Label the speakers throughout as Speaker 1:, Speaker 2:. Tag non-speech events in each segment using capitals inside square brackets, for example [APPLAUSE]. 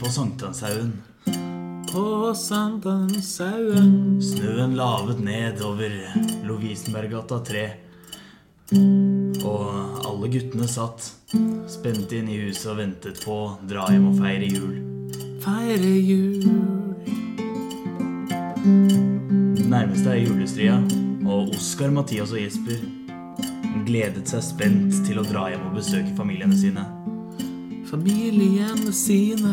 Speaker 1: på Sankthanshaugen.
Speaker 2: På Sankthanshaugen
Speaker 1: Snøen lavet ned over Lovisenberggata 3. Og alle guttene satt spent inn i huset og ventet på å dra hjem og feire jul.
Speaker 2: feire jul.
Speaker 1: Den nærmeste er julestria, og Oskar, Mathias og Jesper gledet seg spent til å dra hjem og besøke familiene sine.
Speaker 2: Familiene sine.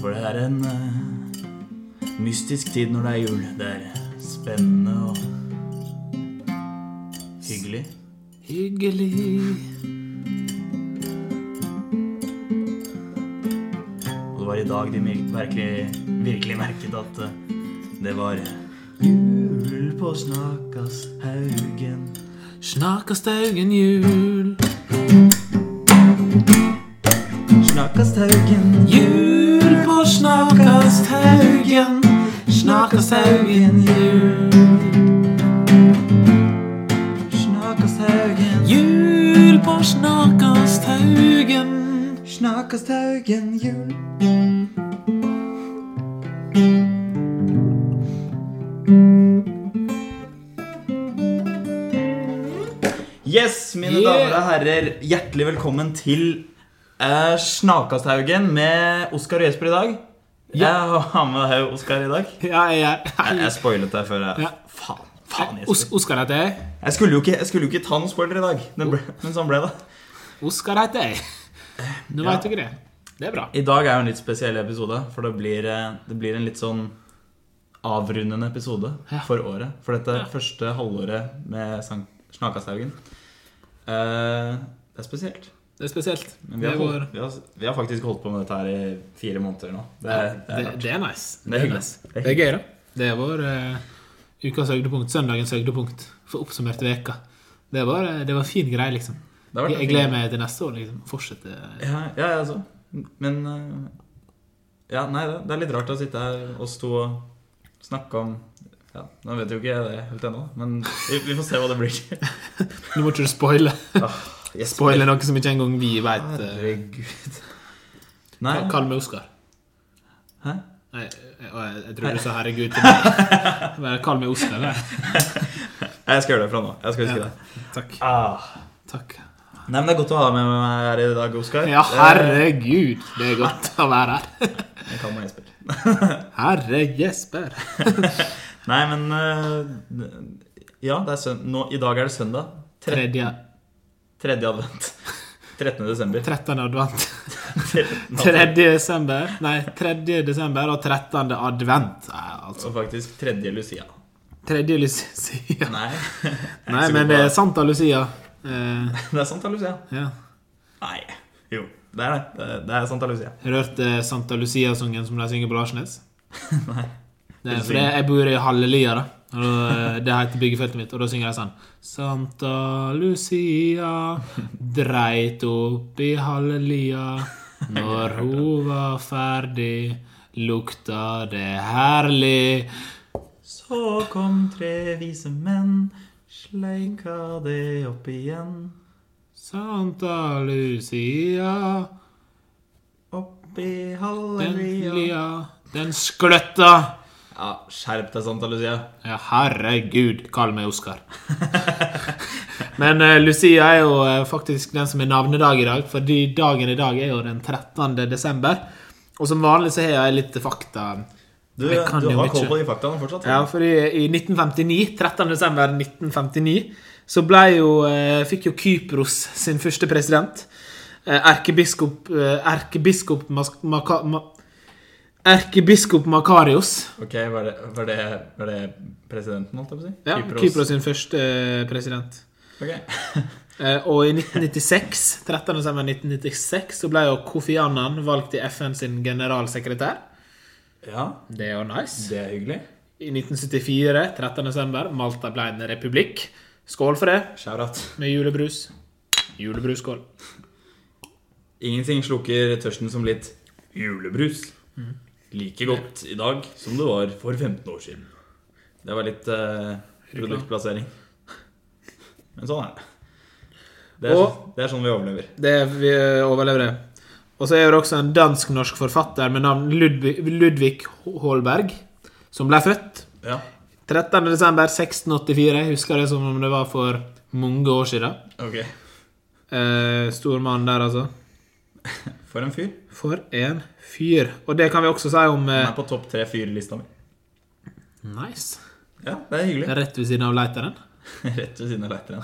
Speaker 1: For det er en eh, mystisk tid når det er jul. Det er spennende og hyggelig.
Speaker 2: Hyggelig.
Speaker 1: Og det var i dag de mir- virkelig, virkelig merket at eh, det var jul på Snakashaugen.
Speaker 2: Snakkastaugen jul.
Speaker 1: Snakashaugen.
Speaker 2: Jul på Snakkasthaugen. Snakkasthaugen jul.
Speaker 1: Snakashaugen.
Speaker 2: Jul på Snakkasthaugen.
Speaker 1: Snakashaugen jul. Yes, mine
Speaker 2: Yeah.
Speaker 1: damer og herrer. Hjertelig velkommen til eh, Snakasthaugen med Oskar og Jesper i dag. Jeg har med deg Oskar i dag.
Speaker 2: Ja, ja.
Speaker 1: Jeg, jeg spoilet deg før.
Speaker 2: Ja.
Speaker 1: Jeg. Faen. Faen,
Speaker 2: Os
Speaker 1: Jesper.
Speaker 2: Oskar heter jeg.
Speaker 1: Jeg skulle jo ikke, jeg skulle jo ikke ta noen spoiler i dag, men, ble, men sånn ble det.
Speaker 2: Oskar heter jeg. Nå
Speaker 1: Ja.
Speaker 2: vet dere det. Det er bra.
Speaker 1: I dag er jo en litt spesiell episode, for det blir, eh, det blir en litt sånn avrundende episode
Speaker 2: Ja.
Speaker 1: for året. For dette
Speaker 2: Ja.
Speaker 1: første halvåret med Sank- Snakashaugen. Eh, det er spesielt.
Speaker 2: Det er spesielt.
Speaker 1: Men vi
Speaker 2: Det,
Speaker 1: har,
Speaker 2: går,
Speaker 1: holdt, vi, har, vi har faktisk holdt på med dette her i fire måneder nå. Det, er- det er
Speaker 2: det,
Speaker 1: rart.
Speaker 2: det er nice.
Speaker 1: Det er hyggelig.
Speaker 2: nice.
Speaker 1: Det er
Speaker 2: Det er gøy, da. Det er vår eh, ukas høydepunkt. Søndagens høydepunkt for oppsummerte veka. Det var, eh, det var fin greie, liksom.
Speaker 1: Det har vært
Speaker 2: Jeg, jeg gleder meg til neste år, liksom. Fortsette.
Speaker 1: Ja, ja, jeg også. Men eh, Ja, nei, det, det er litt rart å sitte her oss to og snakke om ja, Nå vet jo ikke jeg det helt ennå, men vi, vi får se hva det blir.
Speaker 2: [LAUGHS] Nå må ikke du spoile.
Speaker 1: Yes,
Speaker 2: Spoile noe som ikke engang vi veit.
Speaker 1: Herregud. Nei.
Speaker 2: Kall meg Oskar.
Speaker 1: Hæ?
Speaker 2: Nei, jeg, jeg, jeg tror du sa 'herregud' til meg. Bare Kall meg Oskar. nei.
Speaker 1: Jeg skal gjøre det fra nå. Jeg skal huske
Speaker 2: Ja.
Speaker 1: det.
Speaker 2: Takk. Ah. Takk.
Speaker 1: Nei, men Det er godt å ha deg med meg her i dag, Oskar.
Speaker 2: Ja,
Speaker 1: Det-
Speaker 2: herregud, det er godt å være her.
Speaker 1: Jeg kaller meg Jesper.
Speaker 2: Herre Jesper.
Speaker 1: Nei, men eh, Ja, det er søn nå, i dag er det søndag. Tre
Speaker 2: Tredje,
Speaker 1: tredje advent. 13. desember.
Speaker 2: 13. advent.
Speaker 1: Trettende advent.
Speaker 2: 3. desember. Nei, 3. desember og 13. advent. Nei, altså.
Speaker 1: Og faktisk tredje Lucia.
Speaker 2: 3. Lucia.
Speaker 1: Nei. [LAUGHS] jeg er ikke så
Speaker 2: Nei,
Speaker 1: god
Speaker 2: men
Speaker 1: på
Speaker 2: det er Santa Lucia. Eh,
Speaker 1: det er Santa Lucia.
Speaker 2: ja.
Speaker 1: Nei. Jo, det er det. Det er- Det er Santa Lucia. [LAUGHS]
Speaker 2: Har du hørt eh, Santa Lucia-sangen som de synger på Larsnes?
Speaker 1: Nei.
Speaker 2: Det er, for det, jeg bor i Hallelia, da. Og eh, det heter byggefeltet mitt, og da synger jeg sånn Santa Lucia dreit opp i Hallelia. Når hun var ferdig, lukta det herlig.
Speaker 1: Så kom tre vise menn, sleika det opp igjen.
Speaker 2: Santa Lucia,
Speaker 1: Oppi
Speaker 2: den
Speaker 1: halleluja.
Speaker 2: lia, den skløtta.
Speaker 1: Ja, skjerp deg, Santa Lucia.
Speaker 2: Ja, herregud, kall meg
Speaker 1: [LAUGHS]
Speaker 2: Oskar. Men eh, Lucia er jo eh, faktisk den som er navnedag i dag, fordi dagen i dag er jo den 13. desember. Og som vanlig så har jeg litt fakta.
Speaker 1: Du, du
Speaker 2: Jeg kan jo
Speaker 1: har
Speaker 2: ikke.
Speaker 1: koll på de faktaene fortsatt?
Speaker 2: Ja, fordi i 1959, 13. desember 1959, så ble jo, eh, fikk jo Kypros sin første president. Eh, Erkebiskop, eh, erkebiskop Mas Maka Ma Erkebiskop Makarios.
Speaker 1: Ok, var det, var, det, var det presidenten, holdt jeg på å si?
Speaker 2: Ja, Kypros sin første eh, president.
Speaker 1: Ok.
Speaker 2: Eh, Og i 1996, 13. desember 1996 så ble jo Kofi Annan valgt til FN sin generalsekretær.
Speaker 1: Ja,
Speaker 2: Det er jo nice.
Speaker 1: det er hyggelig.
Speaker 2: I 1974, 13. desember, Malta ble en republikk. Skål for det,
Speaker 1: Shout-out.
Speaker 2: med julebrus. Julebrusskål.
Speaker 1: Ingenting slukker tørsten som litt julebrus.
Speaker 2: Mhm.
Speaker 1: Like godt i dag som det var for 15 år siden. Det var litt eh, produktplassering. Men sånn er det. Det er,
Speaker 2: Og-
Speaker 1: sånn- det er sånn vi overlever.
Speaker 2: Det vi eh, overlever det. Og så er det også en dansk-norsk forfatter med navn Ludvig, Ludvig Holberg, som ble født
Speaker 1: Ja.
Speaker 2: 13. desember 1684. Jeg husker det som om det var for mange år siden.
Speaker 1: Ok.
Speaker 2: Eh, stor mann der, altså.
Speaker 1: For en fyr.
Speaker 2: For en fyr. Og det kan vi også si om
Speaker 1: Han
Speaker 2: eh,
Speaker 1: er på topp tre fyr-lista mi.
Speaker 2: Nice.
Speaker 1: Ja, det er hyggelig. [LAUGHS]
Speaker 2: Rett ved siden av leiteren.
Speaker 1: Rett ved siden av leiteren.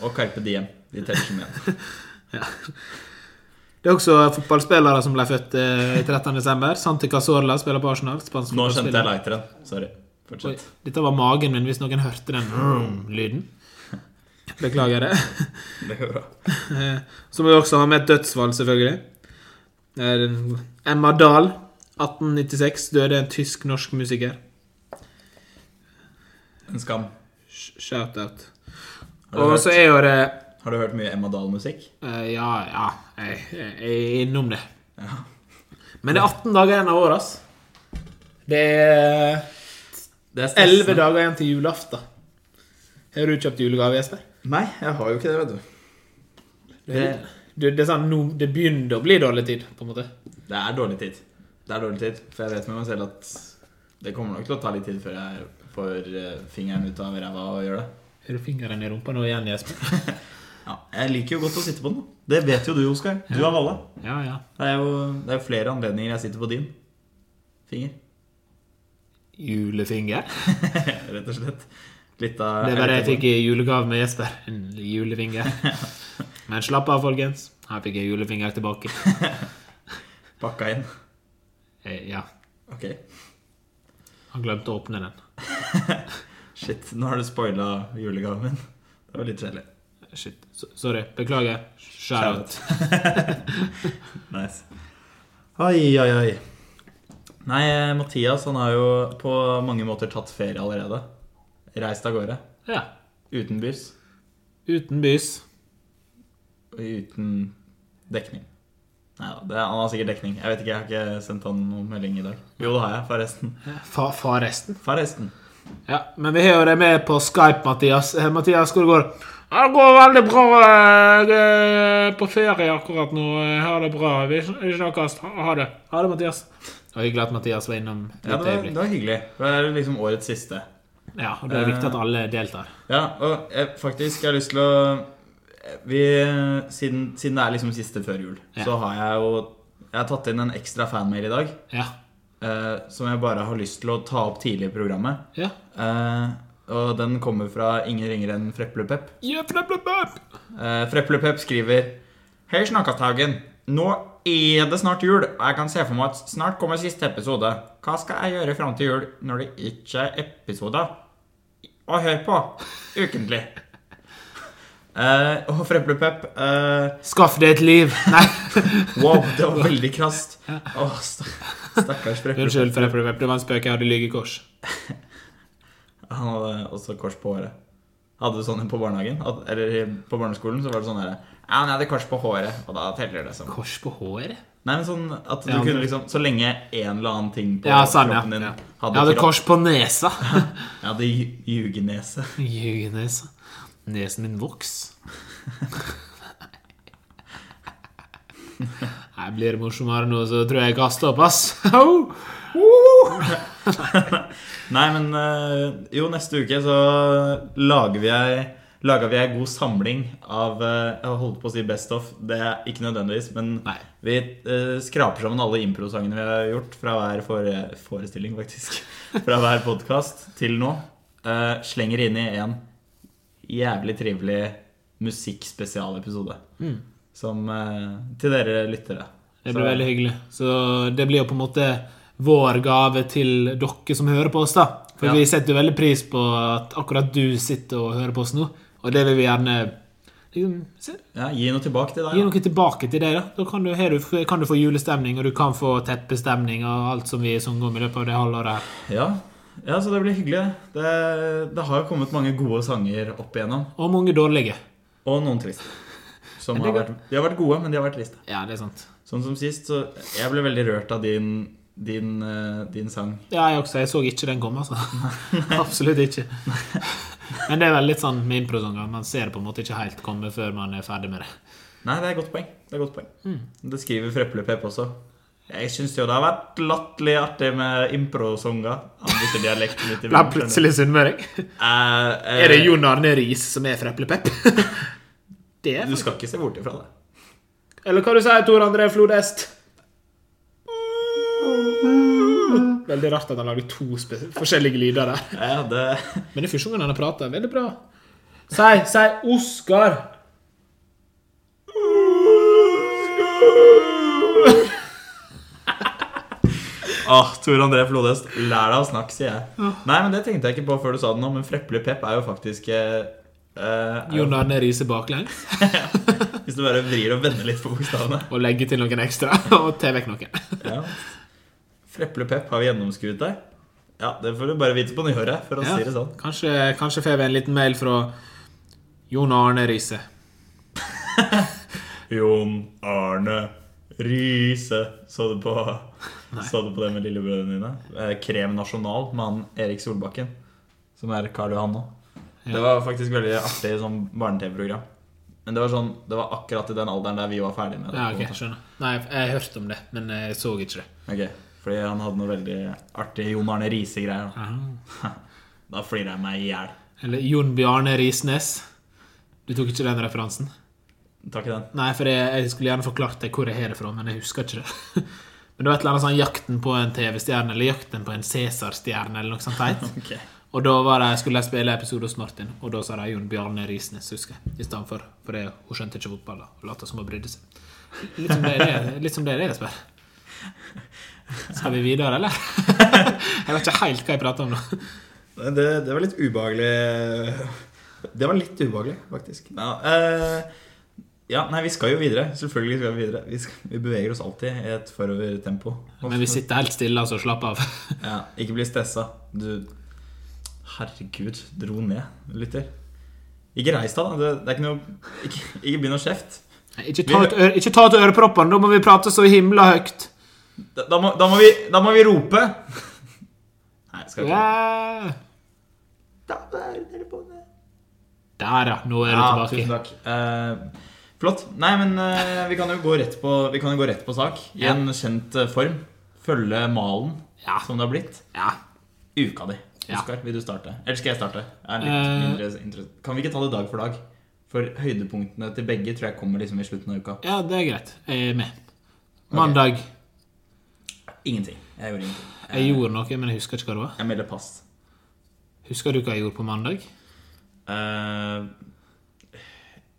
Speaker 1: Og Carpe Diem. De teller som
Speaker 2: [LAUGHS]
Speaker 1: én.
Speaker 2: Det er også fotballspillere som ble født eh, 13. desember. Santi Cazorla spiller på Arsenal. Spansk
Speaker 1: Nå skjønte jeg
Speaker 2: fotballspiller.
Speaker 1: leiteren. Sorry. Fortsett.
Speaker 2: Oi, Dette var magen min, hvis noen hørte den vroom lyden. Beklager det. [LAUGHS]
Speaker 1: Det går bra.
Speaker 2: Eh, Så må vi også ha med et dødsfall, selvfølgelig. Eh, den- Emma Dahl, 1896, døde en tysk-norsk musiker.
Speaker 1: En skam.
Speaker 2: Sh- Shout-out.
Speaker 1: Har du
Speaker 2: Og
Speaker 1: hørt-
Speaker 2: så er jo det
Speaker 1: Har du hørt mye Emma Dahl-musikk?
Speaker 2: eh, Ja, ja, jeg, jeg er innom det.
Speaker 1: Ja.
Speaker 2: Men det er 18 dager igjen av året, ass. Det er
Speaker 1: Det er stressende.
Speaker 2: 11 dager igjen til julaften. Har du kjøpt julegave, Jesper?
Speaker 1: Nei, jeg har jo ikke det, vet du.
Speaker 2: Det, det, det, er sånn, nå- det begynner å bli dårlig tid, på en måte.
Speaker 1: Det er dårlig tid. Det er dårlig tid, For jeg vet med meg selv at det kommer nok til å ta litt tid før jeg får eh, fingeren ut av ræva og gjør det.
Speaker 2: Har du fingeren i rumpa nå igjen, Jesper?
Speaker 1: Ja, jeg liker jo godt å sitte på den. da. Det vet jo du, Oskar. Du av alle.
Speaker 2: Ja, ja.
Speaker 1: Det er jo det er jo flere anledninger jeg sitter på din finger. [LAUGHS]
Speaker 2: Julefinger?
Speaker 1: Rett og slett. Litt av
Speaker 2: Det var det jeg fikk i julegave med Jesper. En [LAUGHS] julefinger. Men slapp av, folkens. Her fikk jeg julefinger tilbake.
Speaker 1: Pakka inn.
Speaker 2: Eh, Ja,
Speaker 1: Ok.
Speaker 2: han glemte å åpne den.
Speaker 1: Shit, nå har du spoila julegaven min. Det var litt kjedelig.
Speaker 2: Shit. So- Sorry. Beklager. Shout-out.
Speaker 1: [LAUGHS] Nice. Oi, oi, oi. Nei, eh, Mathias han har jo på mange måter tatt ferie allerede. Reist av gårde.
Speaker 2: Ja.
Speaker 1: Utenbys.
Speaker 2: Uten bys.
Speaker 1: og Uten dekning. Nei da, det- han har sikkert dekning. Jeg vet ikke, jeg har ikke sendt han noen melding i dag. Jo, det har jeg, forresten.
Speaker 2: Fa, fa resten.
Speaker 1: Forresten.
Speaker 2: Ja, men vi har jo deg med på Skype, Mathias. Eh, Mathias, hvordan går det? Ja, Det går veldig bra. eh, Jeg er på ferie akkurat nå. Jeg har det bra. Vi sn- vi snakkes. Ha ha det. Ha det, Mathias. Det var hyggelig at Mathias var innom.
Speaker 1: Ja, det var, det var hyggelig. Det er liksom årets siste.
Speaker 2: Ja, og det Eh. er viktig at alle deltar.
Speaker 1: Ja, og jeg, faktisk, jeg har lyst til å vi, siden, siden det er liksom siste før jul,
Speaker 2: Ja.
Speaker 1: så har jeg jo Jeg har tatt inn en ekstra fanmail i dag.
Speaker 2: Ja.
Speaker 1: eh, som jeg bare har lyst til å ta opp tidlig i programmet.
Speaker 2: ja.
Speaker 1: Eh, og den kommer fra ingen ringere enn Freplepep.
Speaker 2: Jøpleplepep!
Speaker 1: Uh, Freplepep skriver Hei, Snakkastaugen. Nå er det snart jul, og jeg kan se for meg at snart kommer siste episode. Hva skal jeg gjøre fram til jul når det ikke er episoder å høre på ukentlig? Eh, og Freplepep eh,
Speaker 2: Skaff deg et liv! [LAUGHS] Nei,
Speaker 1: Wow, det var veldig krast. Åh, sta- stakkars Freplepep.
Speaker 2: unnskyld, for det det var en spøk. Jeg hadde lygekors.
Speaker 1: Han hadde også kors på håret. Hadde du sånne på barnehagen? At- Eller i- på barneskolen så var det sånn her Ja, han hadde kors på håret, og da teller det som
Speaker 2: Kors på håret?
Speaker 1: Nei, men sånn at du
Speaker 2: Ja, men-
Speaker 1: kunne liksom Så lenge en eller annen ting på
Speaker 2: Ja, sant, ja.
Speaker 1: kroppen din
Speaker 2: ja. Jeg
Speaker 1: hadde,
Speaker 2: hadde
Speaker 1: kropp
Speaker 2: kors på nesa.
Speaker 1: Jeg hadde ju- jugenese.
Speaker 2: Ljugenesa. Nesen
Speaker 1: [LAUGHS]
Speaker 2: min voks. Nei, blir det morsommere nå, så tror jeg jeg kaster opp, ass. [LAUGHS] Au!
Speaker 1: Nei, men øh, jo, neste uke så lager vi ei Laga vi ei god samling av øh, Jeg holdt på å si Best of. Det er ikke nødvendigvis, men
Speaker 2: Nei.
Speaker 1: vi øh, skraper sammen alle improsangene vi har gjort fra hver fore, forestilling, faktisk. [LAUGHS] Fra hver podkast til nå. øh, slenger inn i en jævlig trivelig musikkspesialepisode.
Speaker 2: Mm.
Speaker 1: Som øh, Til dere lyttere.
Speaker 2: Det
Speaker 1: Så-
Speaker 2: blir veldig hyggelig. Så det blir jo på en måte vår gave til dere som hører på oss, da. For
Speaker 1: Ja.
Speaker 2: vi setter jo veldig pris på at akkurat du sitter og hører på oss nå, og det vil vi gjerne liksom, se-
Speaker 1: Ja, gi noe tilbake til deg.
Speaker 2: Gi
Speaker 1: da.
Speaker 2: noe tilbake til deg, da. Da kan du, her du, kan du få julestemning, og du kan få teppestemning og alt som vi sang om i løpet av det halvåret her.
Speaker 1: Ja. ja, så det blir hyggelig. Det, det har jo kommet mange gode sanger opp igjennom.
Speaker 2: Og mange dårlige.
Speaker 1: Og noen triste. Som
Speaker 2: Men
Speaker 1: har
Speaker 2: [LAUGHS] det
Speaker 1: vært, de har vært gode, men de har vært triste.
Speaker 2: Ja, det er sant.
Speaker 1: Sånn som sist, så jeg ble veldig rørt av din, din, eh, din sang.
Speaker 2: Ja, jeg også. Jeg så ikke den komme, altså. [LAUGHS] Absolutt ikke. Men det er vel litt sånn med improsanger. Man ser det på en måte ikke helt komme før man er ferdig med det.
Speaker 1: Nei, det er et godt poeng. Det er et godt poeng.
Speaker 2: Mm.
Speaker 1: Det skriver Frøple Pep også. Jeg syns jo det har vært latterlig artig med impro-sanger. Han bytter dialekt litt
Speaker 2: Ble
Speaker 1: imellom, skjønner du.
Speaker 2: plutselig sunnmøring.
Speaker 1: Eh, eh,
Speaker 2: Er det Jon Arne Riis som er fra Eplepepp? [LAUGHS] det er
Speaker 1: Du skal ikke se bort ifra det.
Speaker 2: Eller hva du sier, Tor André Flodhest? Veldig rart at han lagde to spe- forskjellige lyder der.
Speaker 1: Jeg hadde
Speaker 2: Men i første gangen han prater, veldig bra. Si, si Oskar.
Speaker 1: Åh, Ah, Tor André Flodhest, lær deg å snakke, sier jeg. Nei, men Det tenkte jeg ikke på før du sa det nå, men Frøple Pep er jo faktisk eh, eh, er jo-
Speaker 2: Jon Arne Riise baklengs.
Speaker 1: [LAUGHS] Hvis du bare vrir og vender litt på bokstavene.
Speaker 2: Og legge til noen ekstra. [LAUGHS] Og ta vekk noen.
Speaker 1: Ja. Freple Pep, har vi gjennomskuet deg? Ja, det får du bare vite på nyåret, for å si det sånn.
Speaker 2: Kanskje, kanskje får vi en liten mail fra Jon Arne Riise.
Speaker 1: Jon Arne Riise. Så du på, så du på det med lillebrødrene dine? Eh, Krem Nasjonal med han Erik Solbakken, som er Karl Johan nå. Det var faktisk veldig artig sånn barne-TV-program. Men det var sånn, det var akkurat i den alderen der vi var ferdig med det.
Speaker 2: Ja,
Speaker 1: på en
Speaker 2: ok,
Speaker 1: måte.
Speaker 2: skjønner. Nei, jeg hørte om det, men jeg så ikke det.
Speaker 1: Ok, Fordi han hadde noe veldig artig Jon Arne Riise-greier. da. [LAUGHS] Da flirer jeg meg i hjel.
Speaker 2: Eller Jon Bjarne Risnes. Du tok ikke den referansen?
Speaker 1: Takk i den.
Speaker 2: Nei, for jeg, jeg skulle gjerne forklart deg hvor jeg har det fra, men jeg husker ikke det. [LAUGHS] Men det var et eller annet sånn 'Jakten på en TV-stjerne' eller 'Jakten på en Cæsar-stjerne' eller noe
Speaker 1: [LAUGHS]
Speaker 2: sånt teit.
Speaker 1: Ok.
Speaker 2: Og da var det, skulle jeg spille episode hos Martin, og da sa de Jon Bjarne Risnes, husker jeg. I stedet for, for det, hun skjønte ikke fotball da, og lot som hun brydde seg. Litt som det er det, litt som det, er det Jesper. Skal vi videre, eller? [LAUGHS] Jeg vet ikke helt hva jeg prater om nå.
Speaker 1: Nei, Det, det var litt ubehagelig. [LAUGHS] Det var litt ubehagelig, faktisk. Ja, eh, ja, nei, vi skal jo videre. Selvfølgelig skal vi videre. Vi, skal, vi beveger oss alltid i et forovertempo.
Speaker 2: Men vi sitter helt stille, altså. Slapp av.
Speaker 1: Ja, ikke bli stressa. Du Herregud, dro ned, lytter. Ikke reis deg, da. Det, det er ikke noe Ikke, ikke begynn å kjefte.
Speaker 2: Nei, Ikke ta ut, øre, ikke ta ut øreproppene, da må vi prate så himla høyt.
Speaker 1: Da, da, må- da, må vi- da må vi rope. Nei, skal ikke
Speaker 2: Ja. Der, ja. Nå er du
Speaker 1: Ja, tusen takk.
Speaker 2: tilbake.
Speaker 1: Eh, flott. Nei, men eh, vi kan jo gå rett på, vi kan jo gå rett på sak. I
Speaker 2: Ja.
Speaker 1: en kjent eh, form. Følge malen
Speaker 2: Ja.
Speaker 1: som det har blitt.
Speaker 2: Ja.
Speaker 1: Uka di.
Speaker 2: Ja.
Speaker 1: Oskar, vil du starte? Eller skal jeg starte? Jeg er litt
Speaker 2: Eh.
Speaker 1: mindre interess- Kan vi ikke ta det dag for dag? For høydepunktene til begge tror jeg kommer liksom i slutten av uka.
Speaker 2: ja, det er greit. Jeg er med. Mandag.
Speaker 1: Ingenting. Jeg gjorde ingenting. Eh,
Speaker 2: Jeg gjorde noe, men jeg husker ikke hva det var.
Speaker 1: Jeg melder pass.
Speaker 2: Husker du hva jeg gjorde på mandag?
Speaker 1: Eh,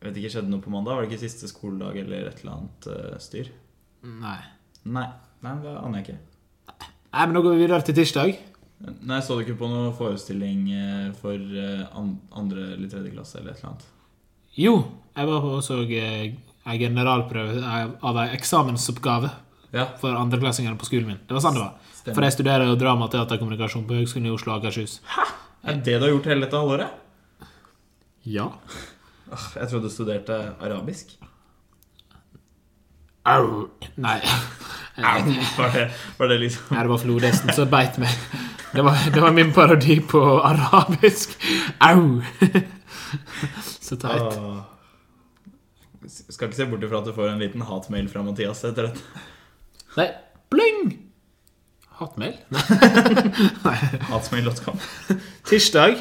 Speaker 1: jeg vet ikke, skjedde noe på mandag? Var det ikke siste skoledag eller et eller annet eh, styr?
Speaker 2: Nei.
Speaker 1: Nei. Nei, det aner jeg ikke.
Speaker 2: Nei, men Da går vi videre til tirsdag.
Speaker 1: Nei, så du ikke på noen forestilling eh, for eh, an- andre eller tredje klasse eller et eller annet?
Speaker 2: Jo, jeg var og så eh, en generalprøve av- av en eksamensoppgave
Speaker 1: Ja.
Speaker 2: for andreklassingene på skolen min. Det var sånn det var.
Speaker 1: Stemmer.
Speaker 2: For jeg studerer jo drama, teater og kommunikasjon på Høgskolen i Oslo og Akershus.
Speaker 1: Er det du har gjort hele dette halvåret?
Speaker 2: Ja.
Speaker 1: Åh, Jeg trodde du studerte arabisk.
Speaker 2: Au! Nei. Au.
Speaker 1: [LAUGHS] Var det, var det liksom
Speaker 2: Nei, det var flodhesten som beit meg. Det var, det var min parodi på arabisk. Au! Så teit.
Speaker 1: Åh. Skal ikke se bort ifra at du får en liten hatmail fra Mathias etter dette.
Speaker 2: Nei, bling! Hatmail? Nei.
Speaker 1: Hatmail.com.
Speaker 2: Tirsdag.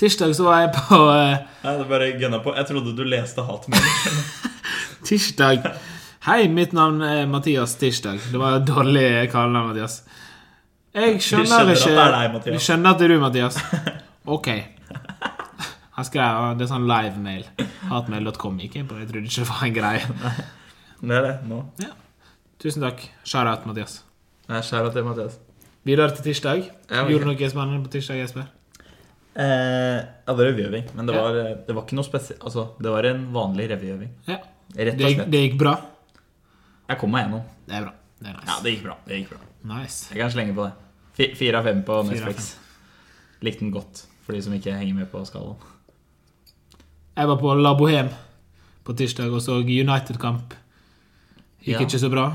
Speaker 2: Tirsdag så var jeg på eh,
Speaker 1: Nei, det bare gønna på. Jeg trodde du leste hatmail.
Speaker 2: Tirsdag. Hei, mitt navn er Mathias Tirsdag. Det var et dårlig kallenavn, Mathias. Jeg
Speaker 1: skjønner at
Speaker 2: skjønner ikke
Speaker 1: det er deg, Mathias.
Speaker 2: Vi skjønner at det er du, Mathias. Ok. Han skrev og Det er sånn livemail. Hatmail.com gikk jeg inn på. Jeg trodde ikke det var en greie.
Speaker 1: Det er det nå.
Speaker 2: Ja. Tusen takk. Shout-out, Mathias.
Speaker 1: Nei, skjæra til Mathias.
Speaker 2: Videre til tirsdag.
Speaker 1: Ja, ok.
Speaker 2: Gjorde du noe spennende på tirsdag, Jesper?
Speaker 1: Eh, ja, det var revyøving. Men det
Speaker 2: Ja.
Speaker 1: var, eh, det var ikke noe spesielt. Altså, det var en vanlig revyøving.
Speaker 2: Ja.
Speaker 1: Rett
Speaker 2: Det
Speaker 1: og
Speaker 2: gikk,
Speaker 1: slett.
Speaker 2: det gikk bra?
Speaker 1: Jeg kom meg gjennom.
Speaker 2: Det er bra. Det er
Speaker 1: Ja,
Speaker 2: nice.
Speaker 1: det gikk bra. Det gikk bra.
Speaker 2: Nice.
Speaker 1: Jeg kan slenge på det. Fi- Fire av fem på
Speaker 2: av
Speaker 1: Netflix. Likte den godt, for de som ikke henger med på skalaen.
Speaker 2: Jeg var på La Bohème på tirsdag og så United-kamp. Gikk
Speaker 1: Ja.
Speaker 2: ikke så bra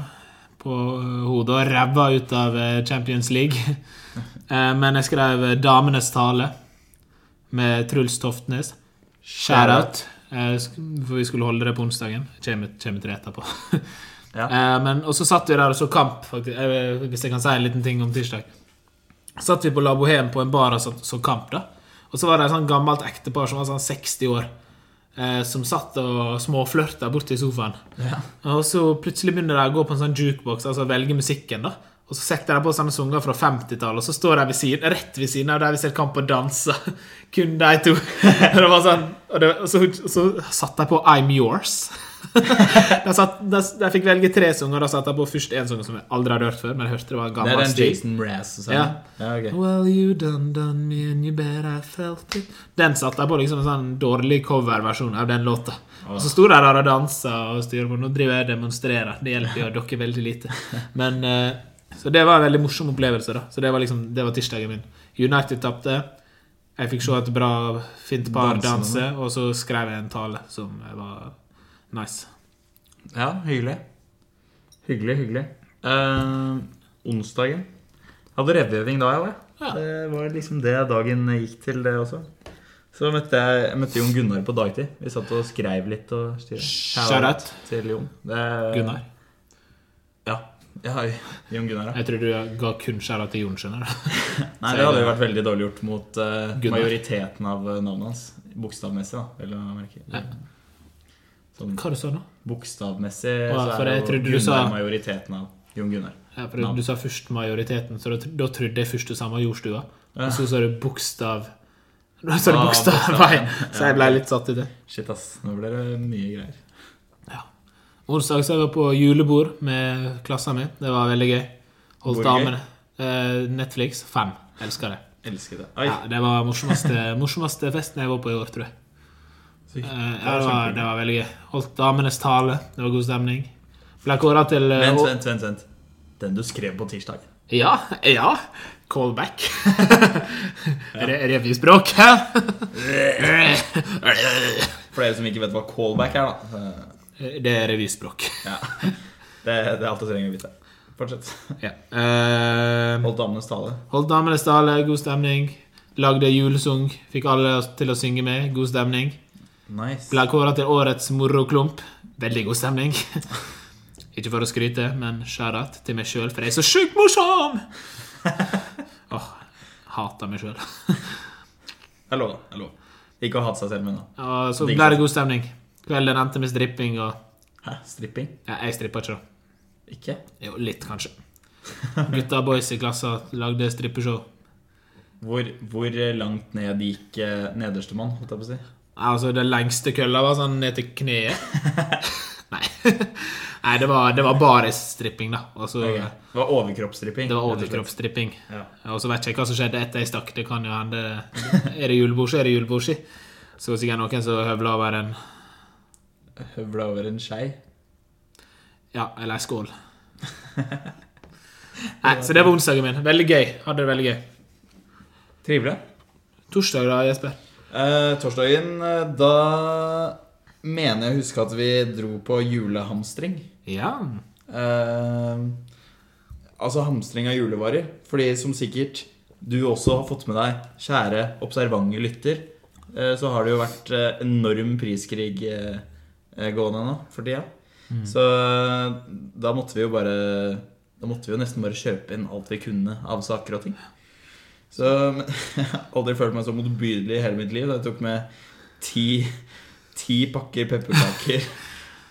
Speaker 2: på eh, hodet og ræva ut av eh, Champions
Speaker 1: [LAUGHS]
Speaker 2: League. Eh, Men jeg skrev eh, 'Damenes tale' med Truls Toftnes. Shout-out. Eh, sk- For vi skulle holde det på onsdagen. Kommer, kommer til det etterpå.
Speaker 1: [LAUGHS] Ja.
Speaker 2: Eh, Men, og så satt vi der og så kamp, faktisk. Eh, hvis jeg kan si en liten ting om tirsdag. Satt vi på La Bohème på en bar og så, så kamp, da. Og så var det et sånn gammelt ektepar som var sånn 60 år, eh, som satt og småflørta borti sofaen. Og så plutselig begynner de å gå på en sånn jukebox, altså velge musikken, da. Og så setter de på sånne sanger fra 50-tallet, og så står de ved siden, rett ved siden av der vi ser kamp og danser. [LAUGHS] Kun de to. [LAUGHS] Og det var sånn, og, det, og, så, og så satte de på I'm Yours. [LAUGHS] de, satt, de, de fikk velge tre sanger, da satte de på først én sang som jeg aldri hadde hørt før. Men jeg hørte det var en
Speaker 1: Det er
Speaker 2: gammel
Speaker 1: den
Speaker 2: stil.
Speaker 1: Jason sånn. Mraz-sangen.
Speaker 2: Ja.
Speaker 1: Ja, ok.
Speaker 2: Well, you done done me and you bet I felt it Den satte jeg på liksom en sånn dårlig coverversjon av den låta. Og så sto de der og dansa og styrer på. Nå driver jeg og demonstrerer. Det hjelper jo dere veldig [LAUGHS] lite. Men, eh, så det var en veldig morsom opplevelse. da Så det var liksom, det var tirsdagen min. United tapte. Jeg fikk se et bra, fint par
Speaker 1: Dansene.
Speaker 2: danse, og så skrev jeg en tale som var nice.
Speaker 1: Ja, hyggelig. Hyggelig, hyggelig. Eh, onsdagen. Hadde revøving da, jeg.
Speaker 2: Ja.
Speaker 1: Det var liksom det dagen gikk til, det også. Så møtte jeg, jeg møtte Jon Gunnar på dagtid. Vi satt og skreiv litt. og styret.
Speaker 2: Shout out.
Speaker 1: til Jon. Det,
Speaker 2: Gunnar.
Speaker 1: Ja. ja. Jon Gunnar, ja.
Speaker 2: Jeg tror du ga kun skjæra til Jon, skjønner du.
Speaker 1: Nei, det hadde jo vært veldig dårlig gjort mot eh,
Speaker 2: Gunnar.
Speaker 1: majoriteten av eh, navnet hans. Bokstavmessig, da. Vel å
Speaker 2: Ja.
Speaker 1: merke. Sånn
Speaker 2: Hva du sa du nå?
Speaker 1: bokstavmessig
Speaker 2: Å,
Speaker 1: så
Speaker 2: for
Speaker 1: er
Speaker 2: jeg
Speaker 1: jo
Speaker 2: trodde du
Speaker 1: Gunnar
Speaker 2: sa-
Speaker 1: majoriteten av Jon Gunnar.
Speaker 2: Ja, for Du sa først majoriteten, så da, tr- da trodde jeg først du sa jordstua.
Speaker 1: Ja.
Speaker 2: Og så sa du bokstav Da sa du
Speaker 1: Ah,
Speaker 2: bokstavveien,
Speaker 1: bokstaven.
Speaker 2: [LAUGHS] så jeg ble litt satt i det.
Speaker 1: Shit, ass. Nå blir det mye greier.
Speaker 2: Onsdag så jeg var på julebord med klassen min. Det var veldig gøy.
Speaker 1: Hvor
Speaker 2: Holdt
Speaker 1: gøy?
Speaker 2: damene. Eh, Netflix fem. Elsker det.
Speaker 1: Elsker det. Oi.
Speaker 2: Ja, det var morsomste, [LAUGHS] morsomste festen jeg var på i år, tror jeg.
Speaker 1: Så,
Speaker 2: Eh, ja, det, var, det var veldig gøy. Holdt damenes tale. Det var god stemning. Ble kåra til eh,
Speaker 1: Vent,
Speaker 2: å-
Speaker 1: vent, vent, vent. Den du skrev på tirsdag.
Speaker 2: Ja. ja. Callback. [LAUGHS] Re Revyspråk.
Speaker 1: For dere som ikke vet hva callback er, da. Eh,
Speaker 2: Det er revyspråk.
Speaker 1: Ja. [LAUGHS] Det, det er alt du trenger å vite. Fortsett.
Speaker 2: Ja. Eh,
Speaker 1: Holdt damenes tale.
Speaker 2: holdt damenes tale, god stemning. Lagde julesung, fikk alle til å synge med, god stemning.
Speaker 1: Nice.
Speaker 2: Ble kåra til årets moroklump, veldig god stemning. [LAUGHS] Ikke for å skryte, men skjærat til meg sjøl, for jeg er så sjukt morsom! Åh, hater meg sjøl.
Speaker 1: Jeg lover. Jeg lover. Ikke å hate seg selv, men da.
Speaker 2: Så ble det god stemning. Kvelden endte med stripping og
Speaker 1: Hæ? Stripping?
Speaker 2: ja, Jeg strippa ikke, da.
Speaker 1: Ikke?
Speaker 2: Jo, litt, kanskje. Gutta boys i klassa lagde strippeshow.
Speaker 1: Hvor, hvor langt ned gikk eh, nederstemann, holdt jeg på å si?
Speaker 2: Altså, det lengste kølla var sånn ned til kneet.
Speaker 1: [LAUGHS]
Speaker 2: Nei. [LAUGHS] Nei, det var, det var baris-stripping, da. Og så
Speaker 1: Ok. Det var overkroppsstripping.
Speaker 2: Det
Speaker 1: rett og
Speaker 2: var
Speaker 1: slett.
Speaker 2: overkroppsstripping.
Speaker 1: Ja.
Speaker 2: Og så vet jeg ikke hva som skjedde etter jeg stakk. Det kan jo hende Er det julebord, så er det julebord, si. Så var det sikkert noen som høvla over en
Speaker 1: Høvla over en skei.
Speaker 2: Ja, eller
Speaker 1: [LAUGHS]
Speaker 2: ei skål. Nei, så det var onsdagen min. Veldig gøy. Hadde det veldig gøy.
Speaker 1: Trivelig.
Speaker 2: Torsdag, da, Jesper?
Speaker 1: Eh, torsdagen, eh, da mener jeg å huske at vi dro på julehamstring.
Speaker 2: Ja.
Speaker 1: Eh, altså hamstring av julevarer. Fordi som sikkert du også har fått med deg, kjære observante lytter, eh, så har det jo vært eh, enorm priskrig eh, eh, gående nå for tida. Så eh, da måtte vi jo bare Da måtte vi jo nesten bare kjøpe inn alt vi kunne av saker og ting. Så men, [LAUGHS] jeg har aldri følt meg så motbydelig i hele mitt liv. da Jeg tok med ti, ti pakker pepperkaker.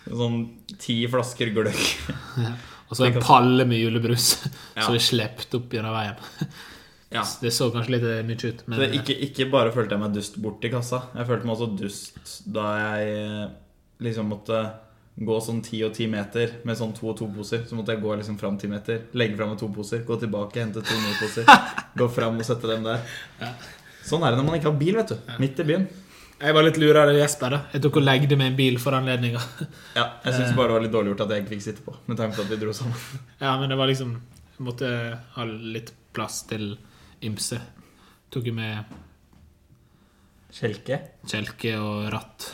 Speaker 1: sånn ti flasker gløgg.
Speaker 2: Og så en palle med julebrus [LAUGHS]
Speaker 1: Ja.
Speaker 2: som vi slepte opp gjennom veien.
Speaker 1: [LAUGHS] Ja.
Speaker 2: Det så kanskje litt eh, mye ut,
Speaker 1: Så
Speaker 2: men
Speaker 1: ikke, ikke bare følte jeg meg dust bort til kassa, jeg følte meg også dust da jeg eh, liksom måtte gå sånn ti og ti meter med sånn to og to poser. Så måtte jeg gå liksom fram ti meter, legge fram med to poser, gå tilbake, hente to nye [LAUGHS] poser. gå fram og sette dem der. Sånn er det når man ikke har bil, vet du. Midt i byen.
Speaker 2: eh, Jeg var litt lurere enn Jesper. da Jeg tok og legde meg i en bil for anledninga.
Speaker 1: Ja, Eh. jeg syns bare det var litt dårlig gjort at jeg ikke fikk sitte på, med tanke på at vi dro sammen.
Speaker 2: [LAUGHS] Ja, men det var liksom jeg Måtte ha litt plass til ymse. Tok jo med
Speaker 1: Kjelke? [LAUGHS]
Speaker 2: kjelke og ratt.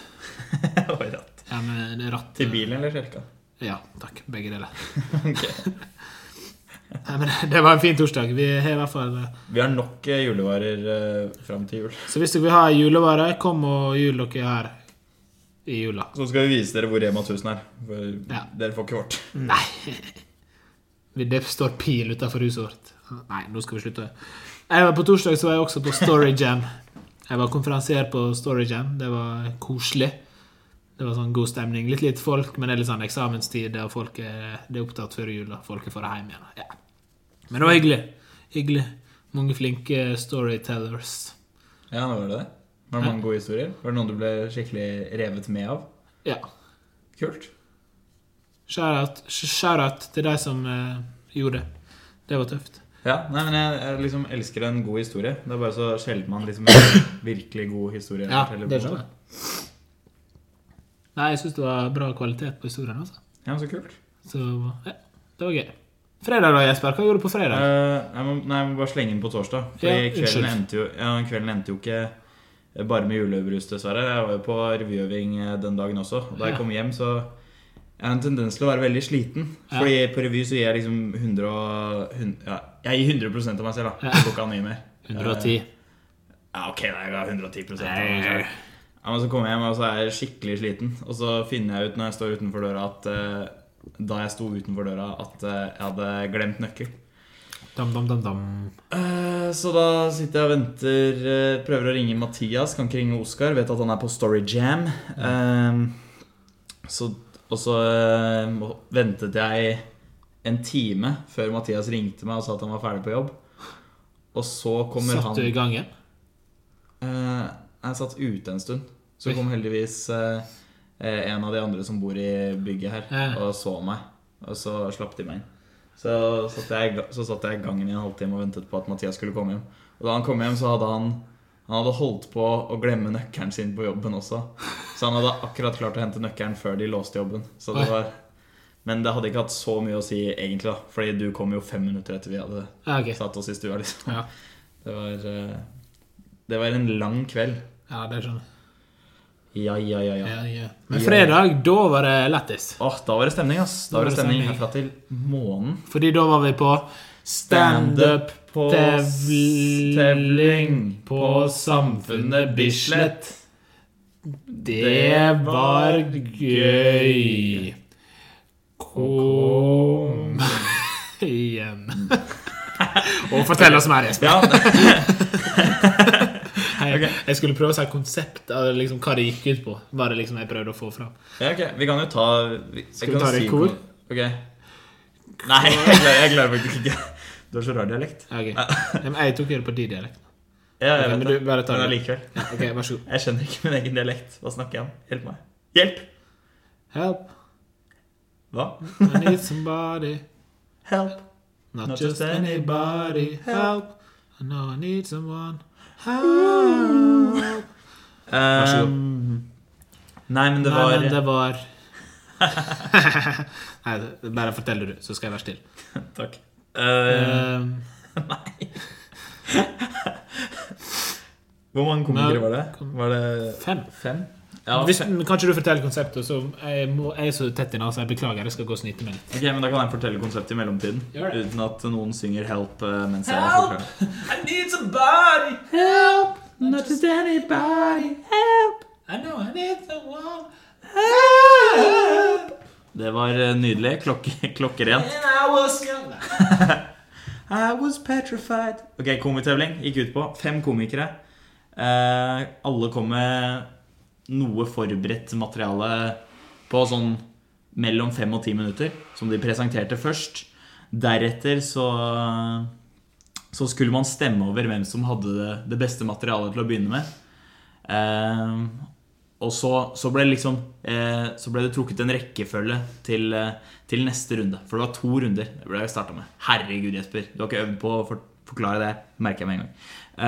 Speaker 1: Oi, ratt.
Speaker 2: Ja, men det er ratt eh,
Speaker 1: Til bilen eller kjelka?
Speaker 2: Ja, takk. Begge deler.
Speaker 1: [LAUGHS] Ok.
Speaker 2: Nei, men [LAUGHS] Det var en fin torsdag. Vi har i hvert fall
Speaker 1: Vi har nok eh, julevarer eh, fram til jul.
Speaker 2: Så hvis dere vil ha julevarer, kom og jul dere her i jula.
Speaker 1: Så skal vi vise dere hvor Rema 1000 er. For
Speaker 2: Ja.
Speaker 1: Dere får ikke vårt.
Speaker 2: Nei. Det står pil utenfor huset vårt. Nei, nå skal vi slutte. Jeg var På torsdag så var jeg også på Storyjam. Jeg var konferansier på Storyjam. Det var koselig. Det var sånn god stemning. Litt lite folk, men det er litt sånn eksamenstid, og folk er, det er opptatt før jul, og folk er for hjem igjen. Ja. Men det var hyggelig. Hyggelig. Mange flinke storytellers.
Speaker 1: Ja, nå var det det. Var det mange gode historier? Var det noen du ble skikkelig revet med av?
Speaker 2: Ja.
Speaker 1: Kult.
Speaker 2: Shout-out shout-out til de som eh, gjorde det. Det var tøft.
Speaker 1: Ja, nei, men jeg, jeg liksom elsker en god historie. Det er bare så sjelden man
Speaker 2: [COUGHS]
Speaker 1: liksom hører en virkelig god historie.
Speaker 2: Ja,
Speaker 1: forteller på
Speaker 2: det
Speaker 1: en måte.
Speaker 2: skjønner jeg. Nei, jeg syns det var bra kvalitet på historien. altså.
Speaker 1: Ja, men så kult.
Speaker 2: Så ja, det var gøy. Fredag da, Jesper? Hva gjorde du på fredag?
Speaker 1: Eh, jeg må, nei, jeg må bare slenge inn på torsdag. Fordi
Speaker 2: Ja,
Speaker 1: kvelden,
Speaker 2: unnskyld.
Speaker 1: endte jo, ja, kvelden endte jo ikke bare med julebrus, dessverre. Jeg var jo på revyøving eh, den dagen også. Og da
Speaker 2: Ja.
Speaker 1: jeg kom hjem, så jeg har en tendens til å være veldig sliten.
Speaker 2: Ja.
Speaker 1: Fordi på revy så gir jeg liksom 100 og, hun- ja, Jeg gir 100 av meg selv, da.
Speaker 2: Ja.
Speaker 1: Jeg får ikke ha mye mer.
Speaker 2: 110.
Speaker 1: Ja, ok, da, jeg ga 110 av meg
Speaker 2: Nei.
Speaker 1: selv. Ja, men så kommer jeg hjem, og så er jeg skikkelig sliten. Og så finner jeg ut når jeg står utenfor døra, at eh, da jeg sto utenfor døra, at eh, jeg hadde glemt nøkkel.
Speaker 2: Dam, dam, dam, dam.
Speaker 1: Eh, så da sitter jeg og venter, eh, prøver å ringe Mathias, kan ikke ringe Oskar, vet at han er på Story Jam. Eh, så, og så eh, må- ventet jeg en time før Mathias ringte meg og sa at han var ferdig på jobb. Og så kommer
Speaker 2: Satt
Speaker 1: han
Speaker 2: du i gangen?
Speaker 1: Eh, jeg satt ute en stund. Så kom heldigvis eh, eh, en av de andre som bor i bygget her,
Speaker 2: Ja.
Speaker 1: og så meg. Og så slapp de meg inn. Så satt jeg, i ga- så satt jeg i gangen i en halvtime og ventet på at Mathias skulle komme hjem. Og da han kom hjem, så hadde han han hadde holdt på å glemme nøkkelen sin på jobben også. Så han hadde akkurat klart å hente nøkkelen før de låste jobben. Så det
Speaker 2: Oi.
Speaker 1: var, men det hadde ikke hatt så mye å si, egentlig. da Fordi du kom jo fem minutter etter vi hadde
Speaker 2: Ja, ok.
Speaker 1: satt oss i stua. liksom
Speaker 2: Ja.
Speaker 1: det var, eh, det var en lang kveld.
Speaker 2: ja, det skjønner jeg.
Speaker 1: Ja, ja, ja. ja.
Speaker 2: Ja, ja. Men fredag, da var det lættis.
Speaker 1: Åh, da var det stemning, ass. Da var det stemning herfra til månen.
Speaker 2: Fordi da var vi på standup
Speaker 1: på
Speaker 2: tevl-
Speaker 1: tevling
Speaker 2: på Samfunnet Bislett.
Speaker 1: Det var gøy.
Speaker 2: Kom igjen. Og fortell oss mer, Jesper.
Speaker 1: Ja, [LAUGHS]
Speaker 2: Jeg, jeg skulle prøve å si konsept av liksom, hva det gikk ut på. Bare liksom jeg prøvde å få fram.
Speaker 1: ja, ok. Vi kan jo ta vi, jeg
Speaker 2: vi
Speaker 1: kan
Speaker 2: ta det i kor?
Speaker 1: Ok. Nei, [LAUGHS] jeg klarer, jeg klarer faktisk ikke. Du har så rar dialekt.
Speaker 2: Ja, ok. Ja, Men jeg tok det på din dialekt.
Speaker 1: Ja,
Speaker 2: Ok,
Speaker 1: jeg
Speaker 2: men
Speaker 1: vet
Speaker 2: du,
Speaker 1: det.
Speaker 2: bare ta
Speaker 1: Men
Speaker 2: det.
Speaker 1: allikevel.
Speaker 2: Ja, Ok, vær så god.
Speaker 1: Jeg skjønner ikke min egen dialekt. Hva snakker jeg om? Hjelp meg. Hjelp!
Speaker 2: Help,
Speaker 1: Hva?
Speaker 2: I need somebody.
Speaker 1: Help.
Speaker 2: Not, just, anybody. Help, I know I need someone. Help.
Speaker 1: Vær
Speaker 2: så god.
Speaker 1: Um, Nei, men det
Speaker 2: Nei,
Speaker 1: var
Speaker 2: men [LAUGHS] det var [LAUGHS] Nei, det- bare forteller du, så skal jeg være stille.
Speaker 1: Takk. Eh,
Speaker 2: Ehm,
Speaker 1: hvor mange komikere
Speaker 2: Nei,
Speaker 1: var det?
Speaker 2: kom-
Speaker 1: Var det
Speaker 2: fem.
Speaker 1: fem? Ja,
Speaker 2: Hvis,
Speaker 1: fem.
Speaker 2: men kan ikke du fortelle konseptet? Så jeg, må, jeg er så tett i nesa. Jeg beklager, jeg skal gå og snyte meg litt.
Speaker 1: Ok, men Da kan jeg fortelle konseptet i mellomtiden.
Speaker 2: Gjør det.
Speaker 1: Uten at noen synger 'Help' eh, mens jeg
Speaker 2: Help!
Speaker 1: forklarer.
Speaker 2: I need somebody help, not just anybody help. I know I need someone help.
Speaker 1: Det var eh, nydelig. Klokke, [LAUGHS] klokkerent.
Speaker 2: And I was young.
Speaker 1: I was petrified. Ok, Komitevling gikk ut på fem komikere. Eh, alle kom med noe forberedt materiale på sånn mellom fem og ti minutter, som de presenterte først. Deretter så så skulle man stemme over hvem som hadde det, det beste materialet til å begynne med. Ehm, og så, så, ble det liksom, eh, så ble det trukket en rekkefølge til, eh, til neste runde. For det var to runder. Det ble jeg startet med. Herregud, Jesper. Du har ikke øvd på å for, forklare det. merker jeg med en gang.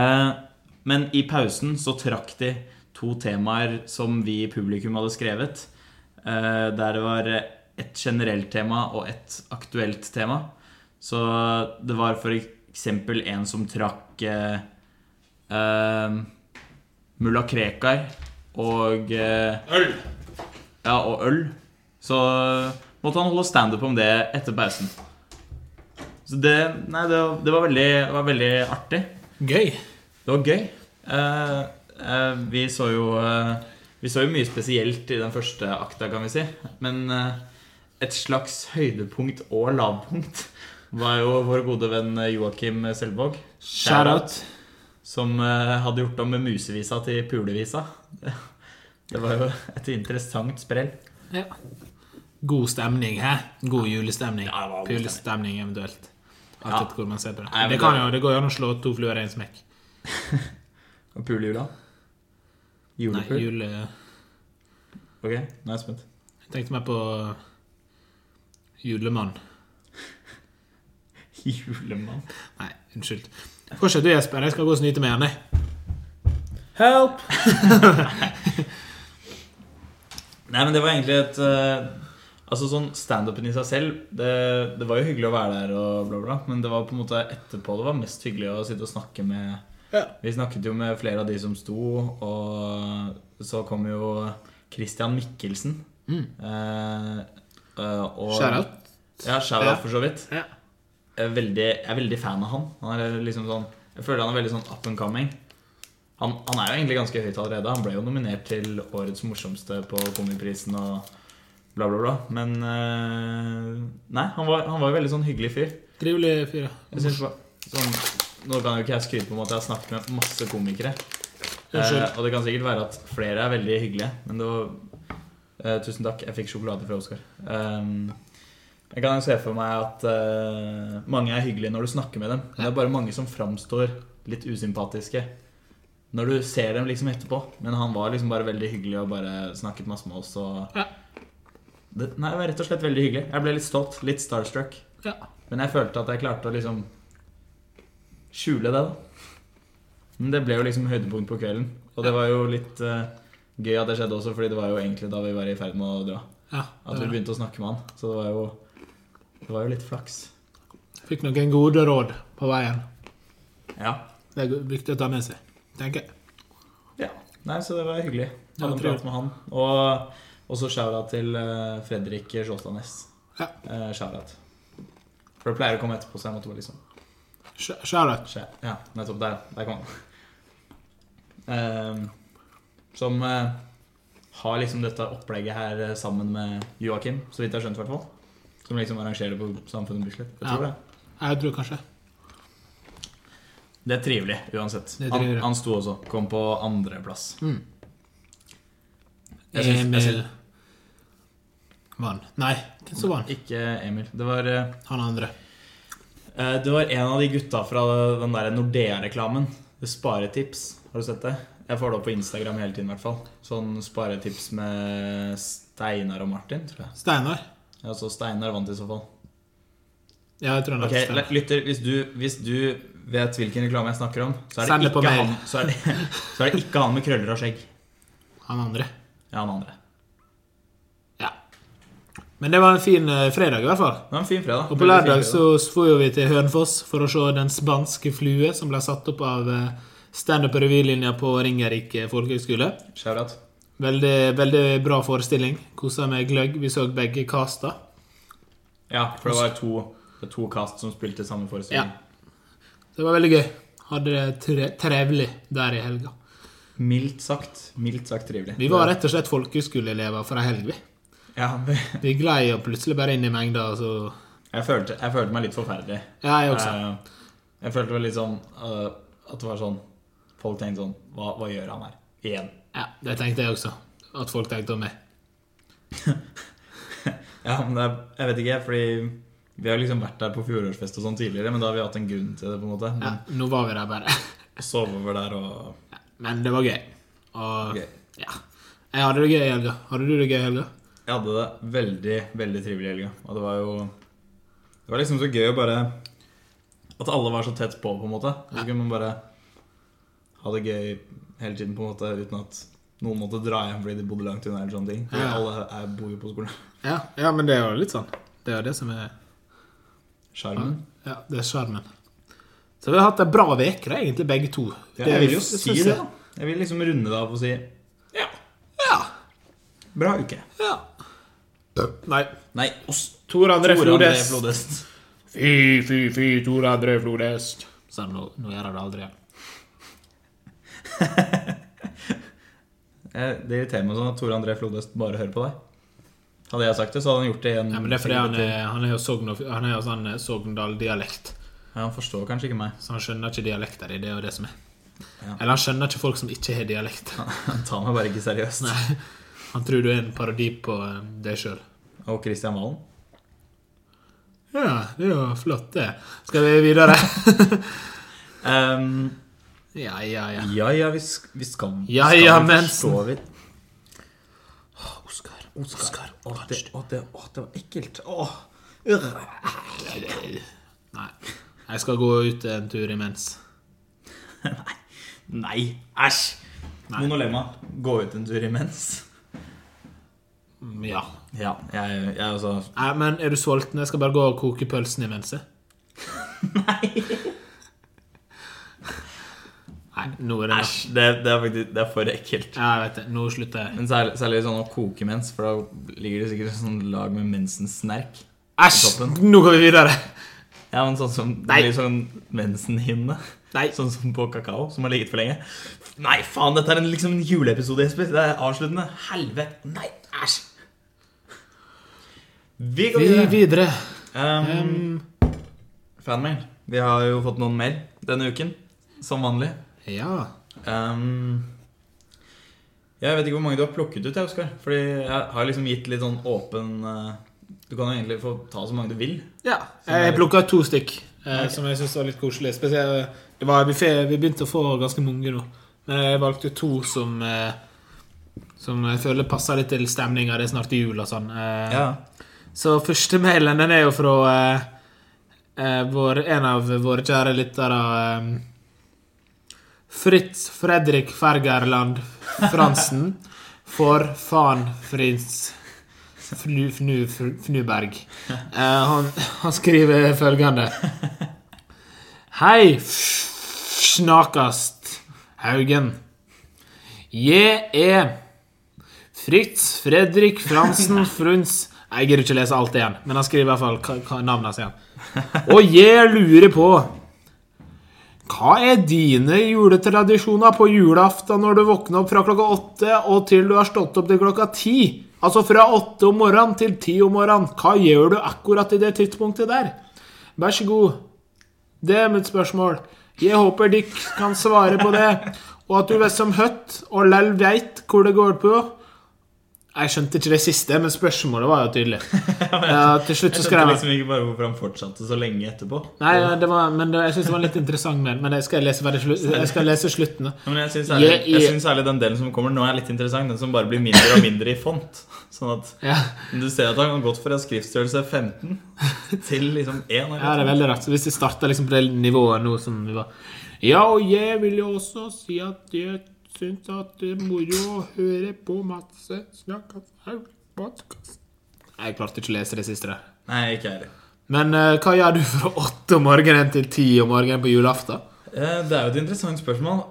Speaker 1: Eh, men i pausen så trakk de to temaer som vi i publikum hadde skrevet. Eh, der det var eh, et generelt tema og et aktuelt tema. Så det var for eksempel en som trakk eh, eh, Mulla Krekar og eh,
Speaker 2: Øl.
Speaker 1: ja, og øl. Så måtte han holde standup om det etter pausen. Så det Nei, det, var- det, var, veldig, det var veldig artig.
Speaker 2: Gøy.
Speaker 1: Det var gøy. Eh, eh, vi så jo eh, Vi så jo mye spesielt i den første akta, kan vi si. Men eh, et slags høydepunkt og lavpunkt var jo vår gode venn Joakim Selvåg.
Speaker 2: Shout-out.
Speaker 1: Som eh, hadde gjort om musevisa til pulevisa. [LAUGHS] Det var jo et interessant sprell.
Speaker 2: Ja. God stemning, hæ? God julestemning.
Speaker 1: Ja, det var god
Speaker 2: Pulestemning, eventuelt. Alt
Speaker 1: Ja.
Speaker 2: etter hvordan man ser på det.
Speaker 1: Nei, men
Speaker 2: det, kan
Speaker 1: det-
Speaker 2: jo, det går jo an å slå to fluer i én smekk.
Speaker 1: Og pulejula?
Speaker 2: Nei,
Speaker 1: Julepul?
Speaker 2: jule...
Speaker 1: Ok, nå er jeg spent. [LAUGHS]
Speaker 2: Jeg tenkte meg på julemann.
Speaker 1: Julemann.
Speaker 2: Nei, unnskyld. Fortsett du, Jesper. Jeg skal gå og snyte med han, jeg. Help!
Speaker 1: [LAUGHS] Nei, men det var egentlig et eh, Altså sånn Standupen i seg selv det, det var jo hyggelig å være der, og bla, bla, men det var på en måte etterpå det var mest hyggelig å sitte og snakke med
Speaker 2: Ja.
Speaker 1: Vi snakket jo med flere av de som sto, og så kom jo Christian Mikkelsen.
Speaker 2: Mm.
Speaker 1: Eh, eh, og,
Speaker 2: Shout-out.
Speaker 1: Ja, shout
Speaker 2: Ja.
Speaker 1: for så vidt.
Speaker 2: Ja.
Speaker 1: Jeg er veldig, jeg er veldig fan av han. Han er liksom sånn Jeg føler han er veldig sånn up and coming. Han, han er jo egentlig ganske høyt allerede. Han ble jo nominert til Årets morsomste på Komiprisen og bla, bla, bla. Men eh, Nei, han var, han var jo veldig sånn hyggelig fyr.
Speaker 2: Trivelig fyr. ja.
Speaker 1: Jeg synes det var- sånn, Nå kan jo ikke jeg skryte på om at jeg har snakket med masse komikere.
Speaker 2: Unnskyld.
Speaker 1: Eh, og det kan sikkert være at flere er veldig hyggelige, men det var eh, Tusen takk. Jeg fikk sjokolade fra Oskar. Um, jeg kan jo se for meg at eh, mange er hyggelige når du snakker med dem. Men det er bare mange som framstår litt usympatiske når du ser dem liksom etterpå. Men han var liksom bare veldig hyggelig og bare snakket masse med oss. Og
Speaker 2: Ja.
Speaker 1: det, nei, det var rett og slett veldig hyggelig. Jeg ble litt stolt. Litt starstruck.
Speaker 2: Ja.
Speaker 1: Men jeg følte at jeg klarte å liksom skjule det, da. Men det ble jo liksom høydepunkt på kvelden. Og det var jo litt eh, gøy at det skjedde også, fordi det var jo egentlig da vi var i ferd med å dra.
Speaker 2: ja.
Speaker 1: At vi begynte å snakke med han. Så det var jo, det var jo litt flaks.
Speaker 2: eh, Fikk noen gode råd på veien.
Speaker 1: Ja.
Speaker 2: Det er viktig å ta med seg, tenker jeg.
Speaker 1: ja. Nei, så det var hyggelig.
Speaker 2: Ja,
Speaker 1: Hadde en
Speaker 2: trivelig.
Speaker 1: prat med han. Og også shout-out til eh, Fredrik Sjåstad Næss.
Speaker 2: Ja.
Speaker 1: Eh, shout-out. For det pleier å komme etterpå, så jeg måtte bare liksom
Speaker 2: Shout-out.
Speaker 1: Skje. Ja, nettopp. Der, der kom han. Ehm, som eh, har liksom dette opplegget her eh, sammen med Joakim, så vidt jeg har skjønt, i hvert fall. Som liksom arrangerer det på Samfunnet Bislett. Jeg tror
Speaker 2: Ja.
Speaker 1: det.
Speaker 2: Jeg tror kanskje
Speaker 1: Det er trivelig, uansett.
Speaker 2: Det er
Speaker 1: han,
Speaker 2: trivelig.
Speaker 1: han sto også. Kom på andreplass. Jeg syns- jeg
Speaker 2: Emil
Speaker 1: syns-
Speaker 2: Vann. Nei, hvem som vant?
Speaker 1: Ikke Emil. Det var, eh,
Speaker 2: Han andre.
Speaker 1: eh, det var en av de gutta fra den der Nordea-reklamen. Det Sparetips. Har du sett det? Jeg får det opp på Instagram hele tiden, i hvert fall. Sånn sparetips med Steinar og Martin, tror jeg.
Speaker 2: Steinar.
Speaker 1: Ja, så Steinar vant i så fall.
Speaker 2: Ja, jeg tror han
Speaker 1: Ok,
Speaker 2: okay, Steinar.
Speaker 1: lytter, hvis du, hvis du vet hvilken reklame jeg snakker om, så er
Speaker 2: Send
Speaker 1: det
Speaker 2: det på
Speaker 1: ikke,
Speaker 2: mail.
Speaker 1: han, så er det, så er det ikke han med krøller og skjegg.
Speaker 2: Han andre.
Speaker 1: Ja, han andre.
Speaker 2: Ja. Men det var en fin eh, fredag, i hvert fall.
Speaker 1: Det var en fin fredag.
Speaker 2: Og på
Speaker 1: Veldig fin
Speaker 2: lørdag
Speaker 1: fredag.
Speaker 2: så dro jo vi til Hønefoss for å se Den spanske flue, som ble satt opp av eh, standup-revylinja på Ringerike folkehøgskole.
Speaker 1: Shout-out.
Speaker 2: Veldig, veldig bra forestilling. Kosa meg gløgg. Vi så begge casta.
Speaker 1: Ja, for det var to, det var to cast som spilte samme forestilling.
Speaker 2: Det var veldig gøy. Hadde det tre trevelig der i helga.
Speaker 1: Mildt sagt. Mildt sagt trivelig.
Speaker 2: Vi var rett og slett folkeskoleelever fra helg, vi.
Speaker 1: Ja, [LAUGHS] men-
Speaker 2: Vi glei jo plutselig bare inn i mengda, og så
Speaker 1: jeg følte, jeg følte meg litt forferdelig.
Speaker 2: Ja, jeg også.
Speaker 1: Eh, Jeg følte det var litt sånn eh, at det var sånn Folk tenkte sånn Hva, hva gjør han her? Igjen.
Speaker 2: Ja, det tenkte jeg også. At folk tenkte om meg.
Speaker 1: Ja, men det er, jeg vet ikke, fordi vi har liksom vært der på fjorårsfest og sånn tidligere, men da har vi hatt en grunn til det, på en måte.
Speaker 2: Ja,
Speaker 1: Men
Speaker 2: nå var vi der bare.
Speaker 1: sove over der og
Speaker 2: Ja, Men det var gøy. Og
Speaker 1: Gøy.
Speaker 2: ja. Jeg hadde det gøy i helga. Hadde du det gøy i helga?
Speaker 1: Jeg hadde det veldig, veldig trivelig i helga. Og det var jo Det var liksom så gøy å bare At alle var så tett på, på en måte. Så kunne man bare ha det gøy hele tiden, på en måte, uten at noen måtte dra hjem fordi de bodde langt unna eller sånne ting. For
Speaker 2: Ja.
Speaker 1: alle er, bor jo på skolen.
Speaker 2: Ja, ja, men det er jo litt sånn. Det er jo det som er
Speaker 1: Sjarmen.
Speaker 2: Ja, det er sjarmen. Så vi har hatt ei bra uke, egentlig, begge to.
Speaker 1: Ja,
Speaker 2: Det
Speaker 1: jeg vil jo
Speaker 2: synes
Speaker 1: si
Speaker 2: jeg-
Speaker 1: det, da. Jeg vil liksom runde det av og si ja,
Speaker 2: Ja.
Speaker 1: bra uke.
Speaker 2: ja. Nei.
Speaker 1: Nei, oss
Speaker 2: Tor André
Speaker 1: Tore André
Speaker 2: Flodhest.
Speaker 1: Flodhest.
Speaker 2: Fy, fy, fy, Tor André Flodhest. Sånn, nå, nå gjør jeg det aldri igjen.
Speaker 1: Jeg, det irriterer meg sånn at Tore André Flodhest bare hører på deg. Hadde jeg sagt det, så hadde han gjort det i en
Speaker 2: Ja, men det er fordi han er, han er jo Sogn- han er jo sånn eh, Sogndal-dialekt.
Speaker 1: Ja, han forstår kanskje ikke meg. [LAUGHS]
Speaker 2: Så han skjønner ikke dialekta di. Det er jo det som er.
Speaker 1: Ja.
Speaker 2: Eller han skjønner ikke folk som ikke har dialekt.
Speaker 1: Han tar meg bare ikke seriøst.
Speaker 2: Nei. Han tror du er en parodi på eh, deg sjøl.
Speaker 1: Og Kristian Valen.
Speaker 2: Ja, det er jo flott, det. Skal vi
Speaker 1: [LAUGHS]
Speaker 2: videre?
Speaker 1: Ehm,
Speaker 2: ja, ja, ja.
Speaker 1: ja ja, vi, sk vi skal
Speaker 2: Ja,
Speaker 1: skal
Speaker 2: ja,
Speaker 1: vi
Speaker 2: mensen.
Speaker 1: forstå vidt.
Speaker 2: Oskar.
Speaker 1: Å, det, å, det, å, det var ekkelt. Å, urr.
Speaker 2: Nei. Jeg skal gå ut en tur imens.
Speaker 1: Nei. Æsj. Monolemma. Gå ut en tur imens.
Speaker 2: Mm, Ja.
Speaker 1: Ja, jeg, jeg altså [LAUGHS]
Speaker 2: Nei, men er du sulten? Jeg skal bare gå og koke pølsen imens. jeg. Nei, nå er det nok.
Speaker 1: Æsj. Det, det er faktisk Det er for ekkelt.
Speaker 2: Ja, jeg vet det. Nå slutter jeg.
Speaker 1: Men særlig, særlig sånn å koke mens, for da ligger det sikkert et sånn lag med mensensnerk.
Speaker 2: Æsj!
Speaker 1: Toppen.
Speaker 2: Nå går vi videre.
Speaker 1: Ja, men sånn som Det
Speaker 2: Nei.
Speaker 1: blir sånn mensenhinne.
Speaker 2: Nei.
Speaker 1: Sånn som på kakao, som har ligget for lenge. Nei, faen, dette er en, liksom en juleepisode, Jesper. Det er avsluttende. Helvete. Nei, æsj. Vi går
Speaker 2: Vi
Speaker 1: videre.
Speaker 2: videre.
Speaker 1: Um,
Speaker 2: Um,
Speaker 1: fanmail. Vi har jo fått noen mail denne uken, som vanlig.
Speaker 2: ja.
Speaker 1: Ehm, jeg vet ikke hvor mange du har plukket ut, jeg, Oskar. Fordi jeg har liksom gitt litt sånn åpen eh, Du kan jo egentlig få ta så mange du vil.
Speaker 2: Ja, jeg plukka to stykk eh, som jeg syntes var litt koselig. Spesielt, eh, det var buffé, vi begynte å få ganske mange nå, men jeg valgte to som eh, som jeg føler passer litt til stemninga. Det er snart jul og sånn. Eh, Så første mailen den er jo fra eh, eh, vår, en av våre kjære lyttere eh, Fritz Fredrik Fergerland Fransen for faen Fritz Fnu, fnu, fnu, Fnuberg. Eh, han, han skriver følgende Hei, f- snakast Haugen. Jeg er Fritz Fredrik Fransen Fruns Jeg gidder ikke lese alt igjen, men han skriver i hvert fall hva- hva navnet sitt. igjen. Og jeg lurer på Hva er dine juletradisjoner på julaften når du våkner opp fra klokka åtte og til du har stått opp til klokka ti? Altså fra åtte om morgenen til ti om morgenen. Hva gjør du akkurat i det tidspunktet der? Vær så god. Det er mitt spørsmål. Jeg håper dere kan svare på det, og at du vet som høtt og lell veit hvor det går på. Jeg skjønte ikke det siste, men spørsmålet var jo
Speaker 1: [LAUGHS]
Speaker 2: tydelig. Ja, til slutt
Speaker 1: Jeg
Speaker 2: så
Speaker 1: skjønte
Speaker 2: skrev jeg
Speaker 1: liksom ikke bare hvorfor han fortsatte så lenge etterpå.
Speaker 2: Nei, ja, det var, men det, jeg syns det var en litt interessant mail. Men jeg skal lese, bare slu, jeg skal lese slutten. da.
Speaker 1: Ja, Men jeg syns særlig,
Speaker 2: Jeg-
Speaker 1: jeg
Speaker 2: jeg-
Speaker 1: synes særlig den delen som kommer nå, er litt interessant. Den som bare blir mindre og mindre i font. [LAUGHS] Sånn at
Speaker 2: Ja,
Speaker 1: du ser at han har gått fra skriftstørrelse 15 til liksom 1.
Speaker 2: ja, det er veldig rart. Så Hvis vi starter liksom på det nivået nå som vi var Ja, og jeg vil jo også si at jeg syns at det er moro å høre på masse snakk om podkast Jeg klarte ikke å lese det siste der.
Speaker 1: Nei, ikke jeg heller.
Speaker 2: Men eh, hva gjør du fra åtte om morgenen til ti om morgenen på julaften?
Speaker 1: Eh, Det er jo et interessant spørsmål.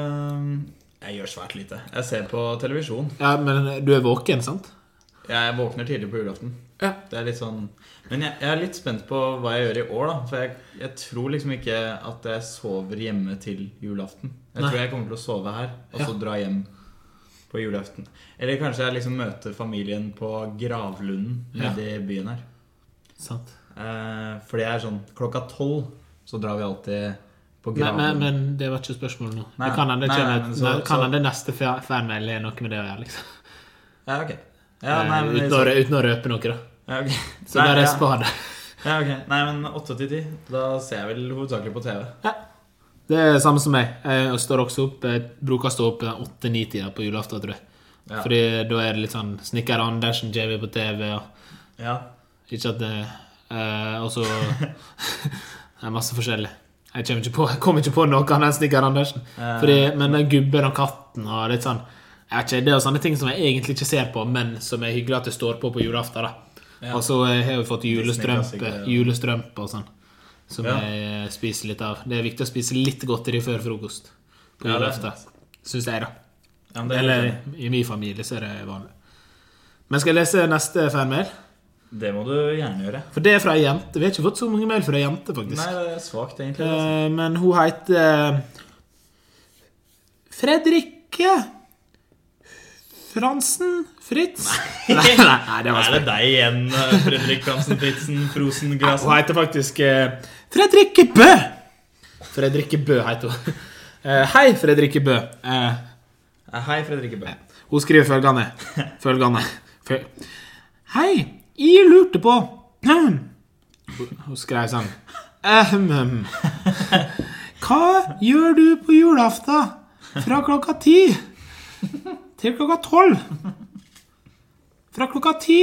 Speaker 1: Eh, Jeg gjør svært lite. Jeg ser på televisjon.
Speaker 2: Ja, men du er våken, sant?
Speaker 1: Jeg våkner tidlig på julaften.
Speaker 2: Ja.
Speaker 1: Det er litt sånn Men jeg, jeg er litt spent på hva jeg gjør i år, da. For jeg, jeg tror liksom ikke at jeg sover hjemme til julaften. Jeg
Speaker 2: Nei.
Speaker 1: tror jeg kommer til å sove her, og så dra hjem på julaften. Eller kanskje jeg liksom møter familien på gravlunden
Speaker 2: Ja.
Speaker 1: nede i byen her.
Speaker 2: Sant.
Speaker 1: Eh, for det er sånn klokka tolv så drar vi alltid på
Speaker 2: Nei, men,
Speaker 1: gravlunden.
Speaker 2: men det var ikke spørsmålet nå.
Speaker 1: Nei,
Speaker 2: Det kan hende det,
Speaker 1: nei,
Speaker 2: kommer
Speaker 1: nei, men
Speaker 2: et-
Speaker 1: så-
Speaker 2: kan
Speaker 1: så-
Speaker 2: hende det neste fa- fanmail er noe med det å gjøre. liksom
Speaker 1: Ja, ok. Ja, nei, men,
Speaker 2: uten, å, rø- uten å røpe noe, da.
Speaker 1: ja, ok.
Speaker 2: Eh, [LAUGHS] Så bare
Speaker 1: ja.
Speaker 2: spar det.
Speaker 1: Ja, ok. Nei, men åtte til ti. Da ser jeg vel hovedsakelig på TV.
Speaker 2: Det er samme som meg. Jeg står også opp, jeg bruker å stå opp åtte-ni-tida på julaften, tror jeg.
Speaker 1: Ja.
Speaker 2: Fordi da er det litt sånn Snekker Andersen, JV på TV og
Speaker 1: Ja.
Speaker 2: Ikke at det eh, Og så [LAUGHS] Det er masse forskjellig. Jeg kommer ikke på, jeg kommer ikke på noe annet enn Snekker Andersen.
Speaker 1: Eh.
Speaker 2: Fordi, men den gubben og katten og litt sånn jeg vet ikke, Det er jo sånne ting som jeg egentlig ikke ser på, men som er hyggelig at det står på på julaften. da.
Speaker 1: Ja.
Speaker 2: Og så eh, har vi fått julestrømpe,
Speaker 1: Disney-klassikere, ja.
Speaker 2: julestrømpe og sånn. Som
Speaker 1: Ja.
Speaker 2: jeg eh, spiser litt av. Det er viktig å spise litt godteri før frokost på
Speaker 1: Ja, det er
Speaker 2: julaften. Syns jeg, da.
Speaker 1: ja men det er
Speaker 2: Eller i min familie så er det vanlig. Men skal jeg lese neste fanmail?
Speaker 1: Det må du gjerne gjøre.
Speaker 2: For det er fra ei jente. Vi har ikke fått så mange mail fra ei jente, faktisk.
Speaker 1: Nei, det er svakt, egentlig. [LAUGHS] Altså.
Speaker 2: Eh, men hun heter eh, Fredrikke Fransen Fritz. [LAUGHS] Nei, nei, det var
Speaker 1: Er det deg igjen, Fredrik Hansen Fritzen, Frosen
Speaker 2: Hun
Speaker 1: Grasen?
Speaker 2: heter faktisk eh, Fredrikke Bø. Fredrikke Bø heter hun. Eh, hei, Fredrikke Bø. Eh,
Speaker 1: Hei, Fredrikke Bø.
Speaker 2: hun skriver følgende. Følgende. Fø- Hei, jeg lurte på Ahem. Hun skrev sånn Ahem, ahem. Hva gjør du på julaften fra klokka ti til klokka tolv? Fra klokka ti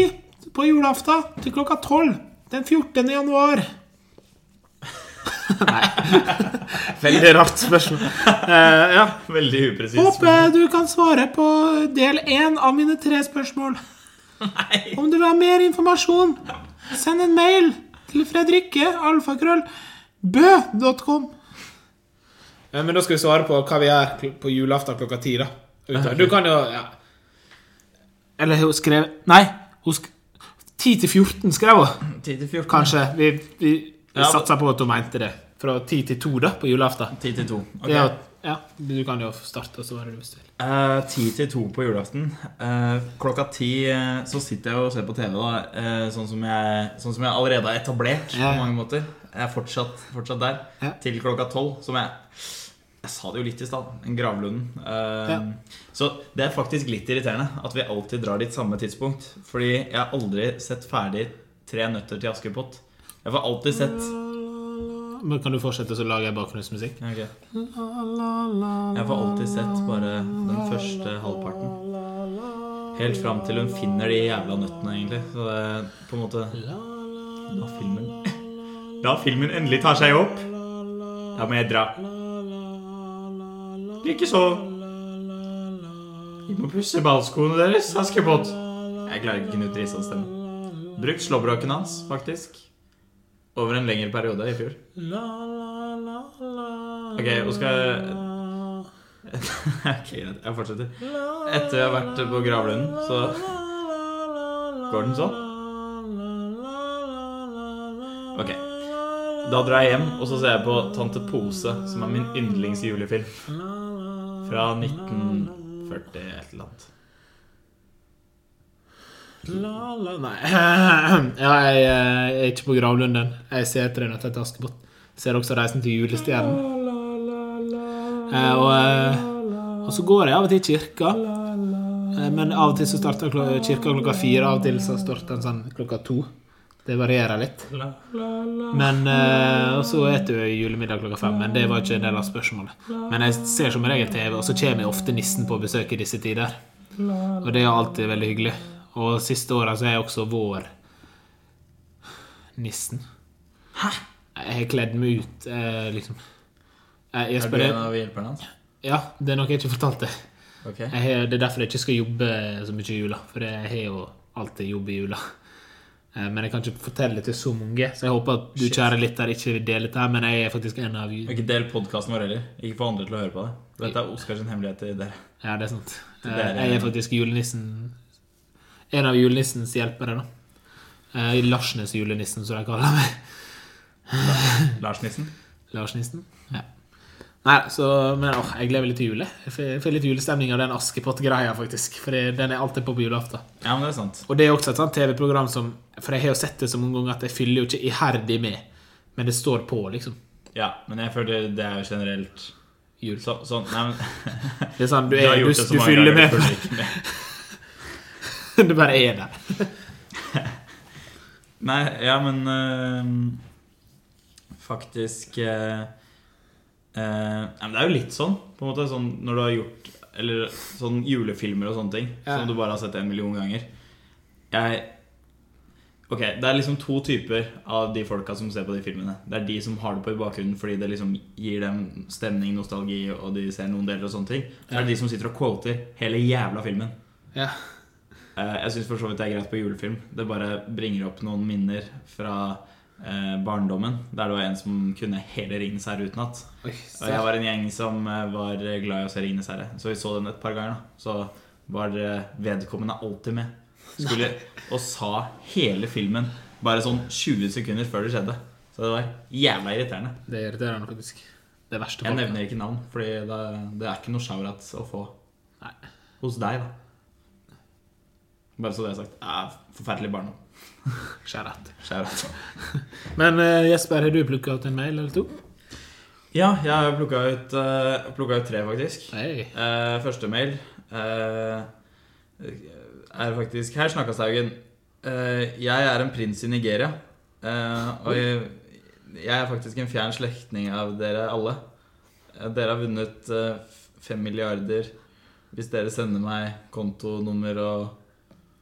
Speaker 2: på julaften til klokka tolv den 14. januar. Nei. Veldig rart spørsmål. Eh, ja.
Speaker 1: Veldig upresist.
Speaker 2: Håper du kan svare på del én av mine tre spørsmål. Om du vil ha mer informasjon, send en mail til Fredrikke alfakrøll bø.com. Eh, Men da skal vi svare på hva vi gjør kl- på julaften klokka ti, da. Utover. Du kan jo ja. Ah, Eller hun skrev Nei, hun sk 10 til 14 skrev hun.
Speaker 1: 10 til 14.
Speaker 2: Kanskje. Vi, vi, vi
Speaker 1: Ja.
Speaker 2: satser på at hun mente det. Fra 10 til 2 da, på julaften.
Speaker 1: 10 til 2. Ok.
Speaker 2: Det er jo- Ja, du kan jo starte og svare hvis du vil.
Speaker 1: Eh, 10 til 2 på julaften. Eh, klokka 10 eh, så sitter jeg og ser på TV, da. eh, sånn, som jeg, sånn som jeg allerede har etablert
Speaker 2: Ja, ja.
Speaker 1: på mange måter. Jeg er fortsatt, fortsatt der.
Speaker 2: Ja.
Speaker 1: Til klokka 12, som jeg Jeg sa det jo litt i stad. En gravlunden. Eh,
Speaker 2: Ja.
Speaker 1: Så det er faktisk litt irriterende at vi alltid drar dit samme tidspunkt. Fordi jeg har aldri sett ferdig Tre nøtter til Askepott. Jeg får alltid sett
Speaker 2: Men kan du fortsette, så lager jeg bakgrunnsmusikk?
Speaker 1: Ja, ok. Jeg får alltid sett bare den første halvparten. Helt fram til hun finner de jævla nøttene, egentlig. Så det er på en måte Da filmen Da filmen endelig tar seg opp, da må jeg dra. Ikke så. Vi må pusse ballskoene deres, Askepott. Jeg klarer ikke Knut Risans stemme. Brukt slåbroken hans, faktisk. Over en lengre periode i fjor. [LAUGHS] Ok, og skal Ok, greit. Jeg fortsetter. Etter jeg har vært på gravlunden, så går den sånn. Ok. Da drar jeg hjem, og så ser jeg på Tante Pose, som er min yndlingsjulefilm. Fra 1940 et eller annet.
Speaker 2: La, la, nei [CLEARS THROAT] ja, jeg, eh, er ikke på gravlunden. Jeg ser Tre nøtter til Askepott. Ser også Reisen til julestjernen. Eh, Og, eh, og så går jeg av og til i kirka. Eh, Men av og til så starter klo- kirka klokka fire, av og til så starter den sånn klokka to. Det varierer litt. Men eh, Og så spiser jeg julemiddag klokka fem, men det var ikke en del av spørsmålet. Men jeg ser som regel TV, og så kommer jeg ofte nissen på besøk i disse tider. Og det er alltid veldig hyggelig. Og siste året så er jeg også vår nissen. Hæ? Jeg har kledd meg ut, eh, liksom. Eh, Jeg, jeg
Speaker 1: Er du
Speaker 2: spør,
Speaker 1: en av hjelperne hans?
Speaker 2: ja, det er noe jeg ikke fortalte.
Speaker 1: Ok.
Speaker 2: Jeg har, det er derfor jeg ikke skal jobbe eh, så mye i jula, for jeg har jo alltid jobb i jula. Eh, Men jeg kan ikke fortelle det til så mange, så jeg håper at du kjære lytter ikke vil dele dette, her, men jeg er faktisk en av
Speaker 1: Og Ikke del podkasten vår heller. Ikke få andre til å høre på det. Dette er Oskars hemmelighet til dere.
Speaker 2: Ja, det er sant.
Speaker 1: Det er-
Speaker 2: Eh, Jeg er faktisk julenissen En av julenissens hjelpere, da. Eh, Larsnes julenissen, som de kaller meg.
Speaker 1: Lars Nissen.
Speaker 2: Larsnissen. Ja. Nei, så, men åh, jeg gleder meg litt til jule. Jeg får- jeg får litt julestemning av den Askepott-greia, faktisk. For det- den er alltid på på julaften.
Speaker 1: Ja, men det er sant.
Speaker 2: Og det er også et sånt TV-program som For jeg har jo sett det så mange ganger at jeg fyller jo ikke iherdig med, men det står på, liksom.
Speaker 1: Ja, men jeg føler det er jo generelt
Speaker 2: Jul.
Speaker 1: så, sånn, nei, men,
Speaker 2: Det er sånn, du,
Speaker 1: har
Speaker 2: er, du,
Speaker 1: gjort det så
Speaker 2: du
Speaker 1: mange
Speaker 2: fyller
Speaker 1: ganger,
Speaker 2: med
Speaker 1: du følger ikke med.
Speaker 2: [LAUGHS] Du bare er der.
Speaker 1: Nei, ja, men øhm, Faktisk øh, øh, nei, men Det er jo litt sånn, på en måte, sånn når du har gjort Eller sånn julefilmer og sånne ting
Speaker 2: Ja.
Speaker 1: som du bare har sett en million ganger. Jeg Ok, Det er liksom to typer av de folka som ser på de filmene. Det er de som har det på i bakgrunnen fordi det liksom gir dem stemning, nostalgi, og de ser noen deler og sånne ting. Så
Speaker 2: Ja.
Speaker 1: er det de som sitter og quoter hele jævla filmen.
Speaker 2: Ja.
Speaker 1: Eh, Jeg syns for så vidt det er greit på julefilm. Det bare bringer opp noen minner fra eh, barndommen. Der det var en som kunne hele 'Ringenes herre' utenat.
Speaker 2: Oi,
Speaker 1: Og jeg var en gjeng som eh, var glad i å se 'Ringenes herre', så vi så den et par ganger. da Så var eh, vedkommende alltid med. Skulle, [LAUGHS] og sa hele filmen bare sånn 20 sekunder før det skjedde. Så det var jævla irriterende.
Speaker 2: Det er irriterende, faktisk. Det verste
Speaker 1: Jeg
Speaker 2: folk.
Speaker 1: nevner ikke navn, Fordi det, det er ikke noe shout-out å få
Speaker 2: Nei.
Speaker 1: hos deg, da. Bare så det er sagt. Ja, forferdelig barn.
Speaker 2: Shout out.
Speaker 1: Skjær ut.
Speaker 2: Men eh, Jesper, har du plukka ut en mail eller to?
Speaker 1: Ja, jeg har plukka ut, eh, plukket ut tre, faktisk.
Speaker 2: Hey.
Speaker 1: Eh, første mail eh, er faktisk Her snakkes Haugen. Eh, jeg er en prins i Nigeria. Eh, og jeg, jeg er faktisk en fjern slektning av dere alle. Eh, Dere har vunnet eh, fem milliarder hvis dere sender meg kontonummer og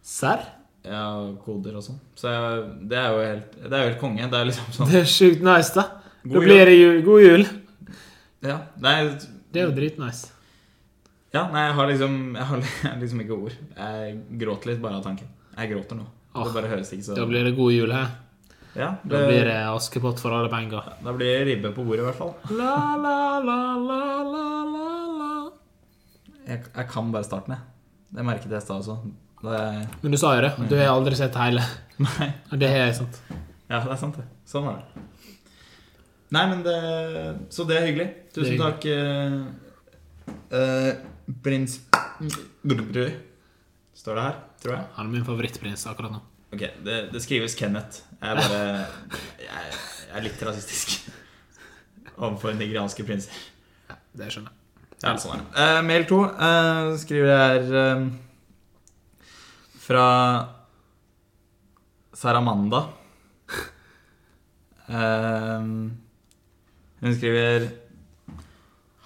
Speaker 2: Serr?
Speaker 1: ja, koder og sånn. Så jeg, det er jo helt, det er jo helt konge. Det er liksom sånn
Speaker 2: Det er sjukt nice, da.
Speaker 1: God
Speaker 2: da blir det jul. God jul.
Speaker 1: Ja, nei,
Speaker 2: Det er jo dritnice.
Speaker 1: ja, nei jeg, har liksom, [LAUGHS] jeg har liksom ikke ord. Jeg gråter litt bare av tanken. Jeg gråter nå.
Speaker 2: Åh,
Speaker 1: det bare høres ikke så
Speaker 2: Da blir det god jul her.
Speaker 1: ja, det,
Speaker 2: Da blir det Askepott for alle penger.
Speaker 1: da blir det ribbe på bordet, i hvert fall.
Speaker 2: La, la, la, la, la, la, la.
Speaker 1: Jeg, jeg kan bare starten, jeg. Det merket jeg i stad også. Det,
Speaker 2: Men du sa jo det. Du har aldri sett hele.
Speaker 1: [LAUGHS] nei,
Speaker 2: Og Det har jeg, sant.
Speaker 1: ja, det er sant, det. Sånn var det. Nei, men det Så det er hyggelig. Tusen
Speaker 2: Det er
Speaker 1: takk, eh, eh, prins Står det her, tror jeg.
Speaker 2: Han er min favorittprins akkurat nå.
Speaker 1: Ok, det, det skrives Kenneth. Jeg er bare Jeg, jeg er litt rasistisk overfor nigerianske prinser.
Speaker 2: Ja, det skjønner jeg.
Speaker 1: Ja, sånn er det. Eh, mail to eh, skriver jeg her eh, fra Saramanda. Eh, hun skriver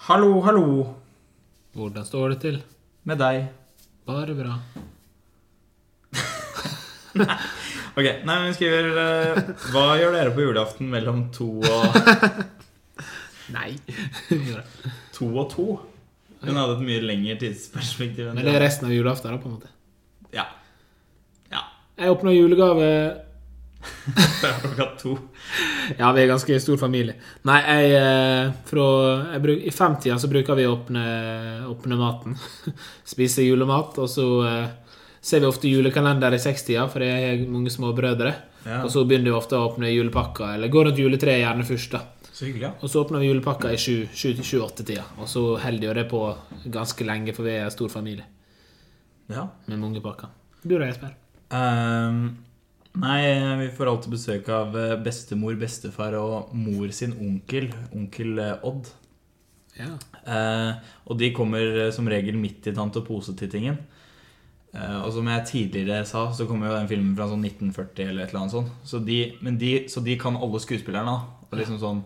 Speaker 1: Hallo, hallo
Speaker 2: Hvordan står det til?
Speaker 1: med deg.
Speaker 2: Bare bra.
Speaker 1: Ok, nei, men hun skriver eh, Hva gjør dere på julaften mellom to og
Speaker 2: Nei. [LAUGHS] Gjør det.
Speaker 1: to og to. Hun hadde et mye lengre tidsperspektiv enn
Speaker 2: Men det er resten av julaften, da, på en måte.
Speaker 1: Ja. [LAUGHS] ja.
Speaker 2: Jeg åpna julegave
Speaker 1: Fra klokka to.
Speaker 2: Ja, vi er ganske stor familie. Nei, jeg, eh, fra, jeg bruk, I femtida så bruker vi å åpne, åpne maten. [LAUGHS] Spise julemat. Og så eh, ser vi ofte julekalender i sekstida, for jeg har mange små brødre.
Speaker 1: Ja.
Speaker 2: Og så begynner vi ofte å åpne julepakker, eller går rundt juletreet gjerne først. da
Speaker 1: Så hyggelig, ja.
Speaker 2: Og så åpner vi julepakka i 7-8-tida, og så holder jo det på ganske lenge, for vi er en stor familie
Speaker 1: ja.
Speaker 2: med mange pakker. Du da, Jesper?
Speaker 1: Ehm, nei, vi får alltid besøk av eh, bestemor, bestefar og mor sin onkel, onkel eh, Odd.
Speaker 2: Ja.
Speaker 1: Eh, og de kommer eh, som regel midt i tante pose-tittingen. Eh, og som jeg tidligere sa, så kommer jo den filmen fra sånn 1940 eller et eller annet sånt. Så de, men de, så de kan alle skuespillerne, da. Og liksom sånn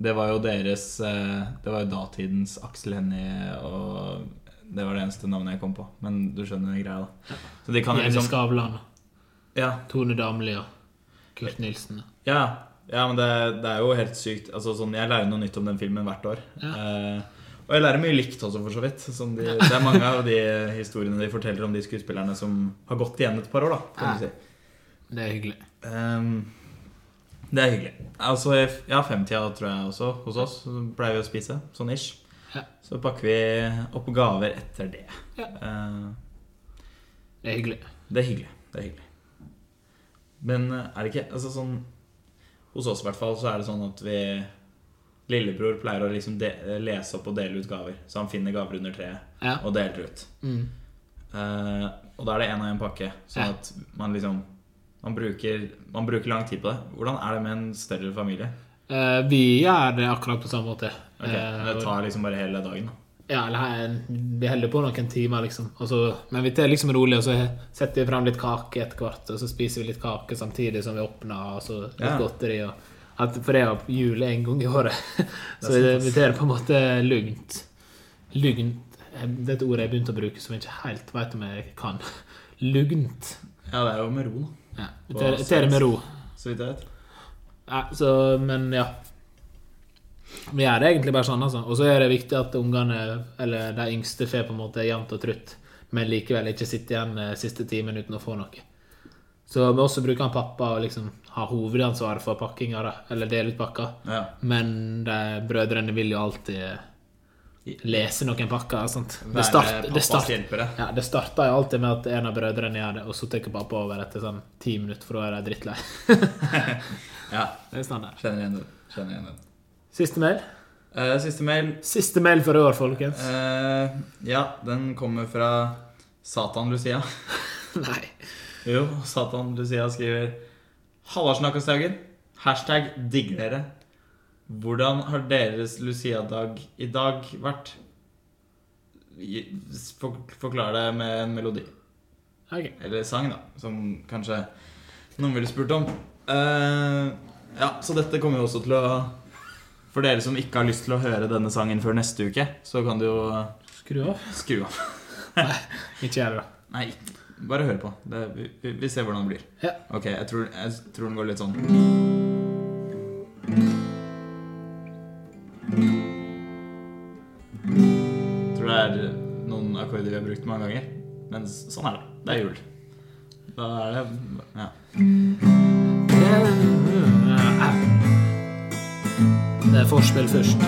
Speaker 1: Det var jo deres eh, Det var jo datidens Aksel Hennie og Det var det eneste navnet jeg kom på. Men du skjønner den greia, da. Så de kan jo
Speaker 2: Jenny
Speaker 1: liksom
Speaker 2: Skavlan,
Speaker 1: Ja,
Speaker 2: Tone Damli og Kurt Nilsen.
Speaker 1: ja, ja men det, det er jo helt sykt. Altså, sånn, jeg lærer noe nytt om den filmen hvert år. Eh, og jeg lærer mye likt også, for så vidt. Som de, det er mange av de historiene de forteller om de skuespillerne som har gått igjen et par år. da, kan du si.
Speaker 2: Det er hyggelig.
Speaker 1: Ehm, det er hyggelig. Altså, i f- ja, femtida tror jeg også hos oss. Så pleier vi å spise, sånn ish.
Speaker 2: Ja.
Speaker 1: Så pakker vi opp gaver etter det.
Speaker 2: Ja.
Speaker 1: Eh,
Speaker 2: Det er hyggelig.
Speaker 1: det er hyggelig. Det er hyggelig. Men eh, er det ikke altså sånn Hos oss i hvert fall så er det sånn at vi Lillebror pleier å liksom de, lese opp og dele ut gaver. Så han finner gaver under treet
Speaker 2: Ja.
Speaker 1: og deler ut.
Speaker 2: Mm.
Speaker 1: Eh, og da er det én og én pakke. Sånn
Speaker 2: Ja.
Speaker 1: at man liksom man bruker, man bruker lang tid på det. Hvordan er det med en større familie?
Speaker 2: Eh, vi gjør det akkurat på samme måte.
Speaker 1: Ok,
Speaker 2: Eh,
Speaker 1: Det tar liksom bare hele dagen. da
Speaker 2: ja, eller her, vi holder på noen timer, liksom. Og så, men vi tar liksom rolig, og så setter vi fram litt kake etter hvert. Og så spiser vi litt kake samtidig som vi åpner, og så litt
Speaker 1: Ja.
Speaker 2: godteri. Og, at, for det er jo jul en gang i året. [LAUGHS] så vi, vi tar det på en måte lugnt. Lugnt Eh, Det er et ord jeg begynte å bruke som jeg ikke helt veit om jeg kan. [LAUGHS] Lugnt.
Speaker 1: Ja, det er jo med ro, da.
Speaker 2: Ja. Vi tar vi tar det med ro.
Speaker 1: Så vidt jeg vet.
Speaker 2: Nei, så, men ja. Vi gjør det egentlig bare sånn, altså. Og så er det viktig at ungene, eller de yngste, får på en måte jevnt og trutt, men likevel ikke sitter igjen eh, siste timen uten å få noe. Så vi også bruker han pappa å liksom ha hovedansvaret for pakkinga, da, eller dele ut pakka.
Speaker 1: Ja.
Speaker 2: Men de brødrene vil jo alltid eh, lese noen pakker. Sant? Det,
Speaker 1: Være
Speaker 2: start, det,
Speaker 1: pappas
Speaker 2: start,
Speaker 1: hjelpere.
Speaker 2: ja, det starta jo alltid med at en av brødrene gjør det, og så tar pappa over etter sånn ti minutter, for da er de drittlei.
Speaker 1: Ja,
Speaker 2: det er standard.
Speaker 1: kjenner igjen det. Kjenner igjen det.
Speaker 2: Siste mail.
Speaker 1: Eh, siste mail
Speaker 2: Siste mail for i år, folkens.
Speaker 1: Eh, ja, den kommer fra Satan Lucia.
Speaker 2: Nei.
Speaker 1: Jo, Satan Lucia skriver Hallasnakkastaugen. Hashtag digger dere. Hvordan har deres Lucia-dag i dag vært? Gi- s- for- Forklar det med en melodi.
Speaker 2: Ok.
Speaker 1: Eller sang, da. Som kanskje noen ville spurt om. Eh, ja, så dette kommer jo også til å For dere som ikke har lyst til å høre denne sangen før neste uke, så kan du jo
Speaker 2: Skru av.
Speaker 1: skru av.
Speaker 2: Ikke gjør det, da.
Speaker 1: Nei, bare hør på. Det, vi, vi- vi ser hvordan det blir.
Speaker 2: Ja.
Speaker 1: Ok, jeg tror, jeg tror den går litt sånn. Tror det er noen akkorder vi har brukt mange ganger. Men s- sånn er det. Det er jul. Da er det Ja.
Speaker 2: Det er forspill først.